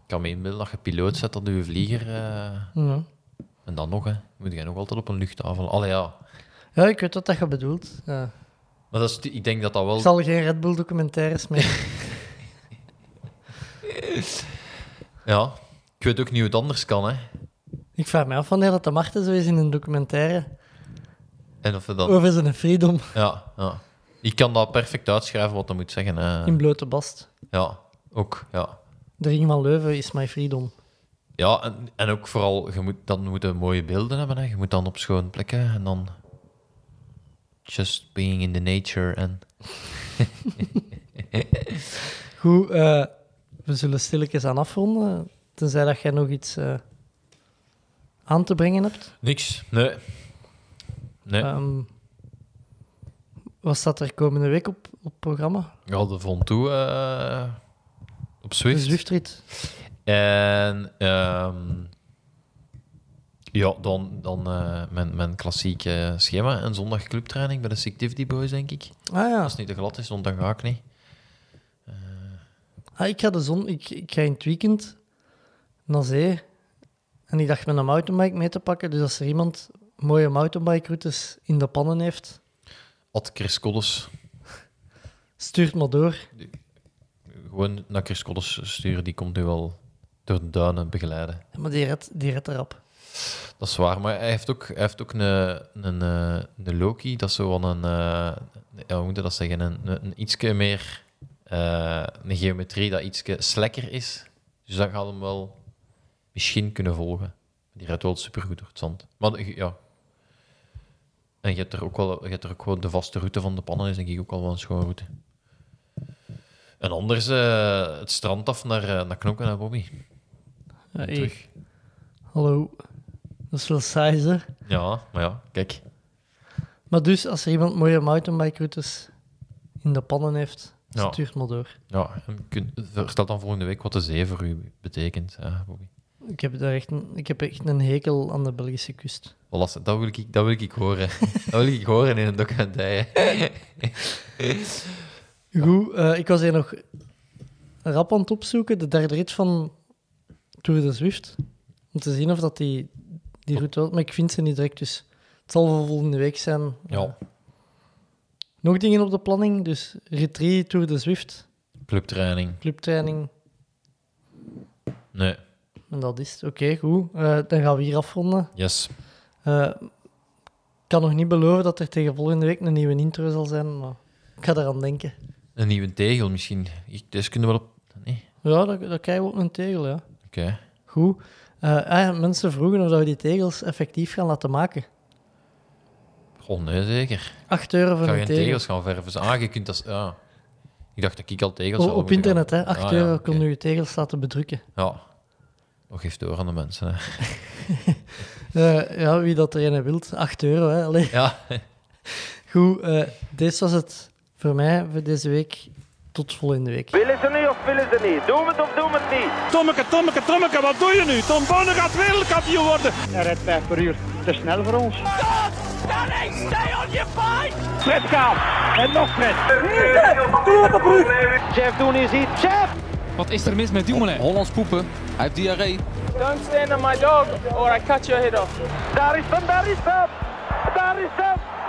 Ik kan me inbeelden dat je piloot zet dat uw vlieger... eh, Ja. En dan nog, hè. Moet jij nog altijd op een luchthaven... Allee, ja. ja, ik weet wat dat je bedoelt. Ja. Maar dat is, ik denk dat dat wel... Ik zal geen Red Bull documentaires meer. Ja. Ik weet ook niet hoe het anders kan, hè. ik vraag me af wanneer dat de Marten zo is in een documentaire En of we dan... over zijn freedom Ja, ja. Ik kan dat perfect uitschrijven wat dat moet zeggen. hè. in blote bast. Ja, ook, ja. De ring van Leuven is my freedom. Ja, en, en ook vooral, je moet, dan moeten mooie beelden hebben. Hè. Je moet dan op schone plekken en dan... Just being in the nature en... Goed, eh, we zullen stilletjes aan afronden. Tenzij dat jij nog iets eh, aan te brengen hebt. Niks, nee. Nee, Ehm, wat staat er komende week op, op programma? ja, de vond toe eh, op De Zwift. Zwiftrit. En ehm, ja, dan, dan eh, mijn, mijn klassieke schema. Een zondag clubtraining bij de Sick Activity Boys, denk ik. Ah ja, Als het niet te glad is, want dan ga ik niet. ah, ik ga de zon. Ik, ik ga in het weekend naar zee. En ik dacht met een mountainbike mee te pakken. Dus als er iemand mooie mountainbike routes in de pannen heeft, Ad Chris Collins. stuurt maar door. Gewoon naar Chris Collins sturen, die komt nu wel door de duinen begeleiden. Maar die redt, die redt erop. Dat is waar, maar hij heeft ook, hij heeft ook een, een, eh, een Loki, dat is zo wel een, eh, ja, hoe moet je dat zeggen, een, een, een ietske meer, eh, een geometrie dat ietske slekker is. Dus dat gaat hem wel misschien kunnen volgen. Die rijdt wel supergoed door het zand. Maar de- ja. En je hebt er ook wel, je hebt er ook gewoon de vaste route van de pannen, is denk ik ook al wel een schone route. En anders eh, het strand af naar, eh, naar Knokken en Bobby. Ja, En hey, terug. hallo. Dat is wel saai, hè? Ja, maar ja, kijk. Maar dus, als er iemand mooie mountainbike routes in de pannen heeft, Ja. stuurt maar door. Ja, en kun, vertel dan volgende week wat de zee voor u betekent, hè, Bobby. Ik heb, daar echt een, ik heb echt een hekel aan de Belgische kust. Wel lastig, dat wil ik, dat wil ik horen. dat wil ik horen in een documentaire. Goed, eh, ik was hier nog rap aan het opzoeken, de derde rit van Tour de Zwift. Om te zien of dat die, die route wel... Maar ik vind ze niet direct, dus het zal voor volgende week zijn. Ja, Nog dingen op de planning, dus rit 3, Tour de Zwift, clubtraining. clubtraining, Nee, en dat is het. Oké, goed. Eh, dan gaan we hier afronden. yes. Eh, ik kan nog niet beloven dat er tegen volgende week een nieuwe intro zal zijn, maar ik ga eraan denken. Een nieuwe tegel misschien. Ik, dus kunnen we wel op... Nee, Ja, dat, dat krijgen we op een tegel, ja. oké. Goed. Eh, ah ja, mensen vroegen of dat we die tegels effectief gaan laten maken. Goh, nee, zeker. 8 euro voor Ga je een tegel. tegels gaan verven? Ah, je kunt dat... Ja. Ik dacht dat ik al tegels O- zou Oh, op moeten gaan- internet, hè. 8 Ah, ja, euro oké. kon u je tegels laten bedrukken. Ja. Nog geeft door aan de mensen, hè. Eh, ja, wie dat er een wilt. 8 euro, hè. Allee. Ja, Goed, eh dit was het voor mij voor deze week. Tot volgende week. Willen ze niet of willen ze niet? Doen we het of doen we het niet? Tommeke, Tommeke, Tommeke, wat doe je nu? Tom Bonne gaat wereldkampioen worden. Hij rijdt 5 per uur. Te snel voor ons. Fred gaan. En nog Fred. Jeff Doen is hier. Jeff! Wat is er mis met Dumoulin? Hollands poepen. Hij heeft diarree. Don't stand on my dog or I cut your head off. Daar is hem, daar is hem! Daar is hem!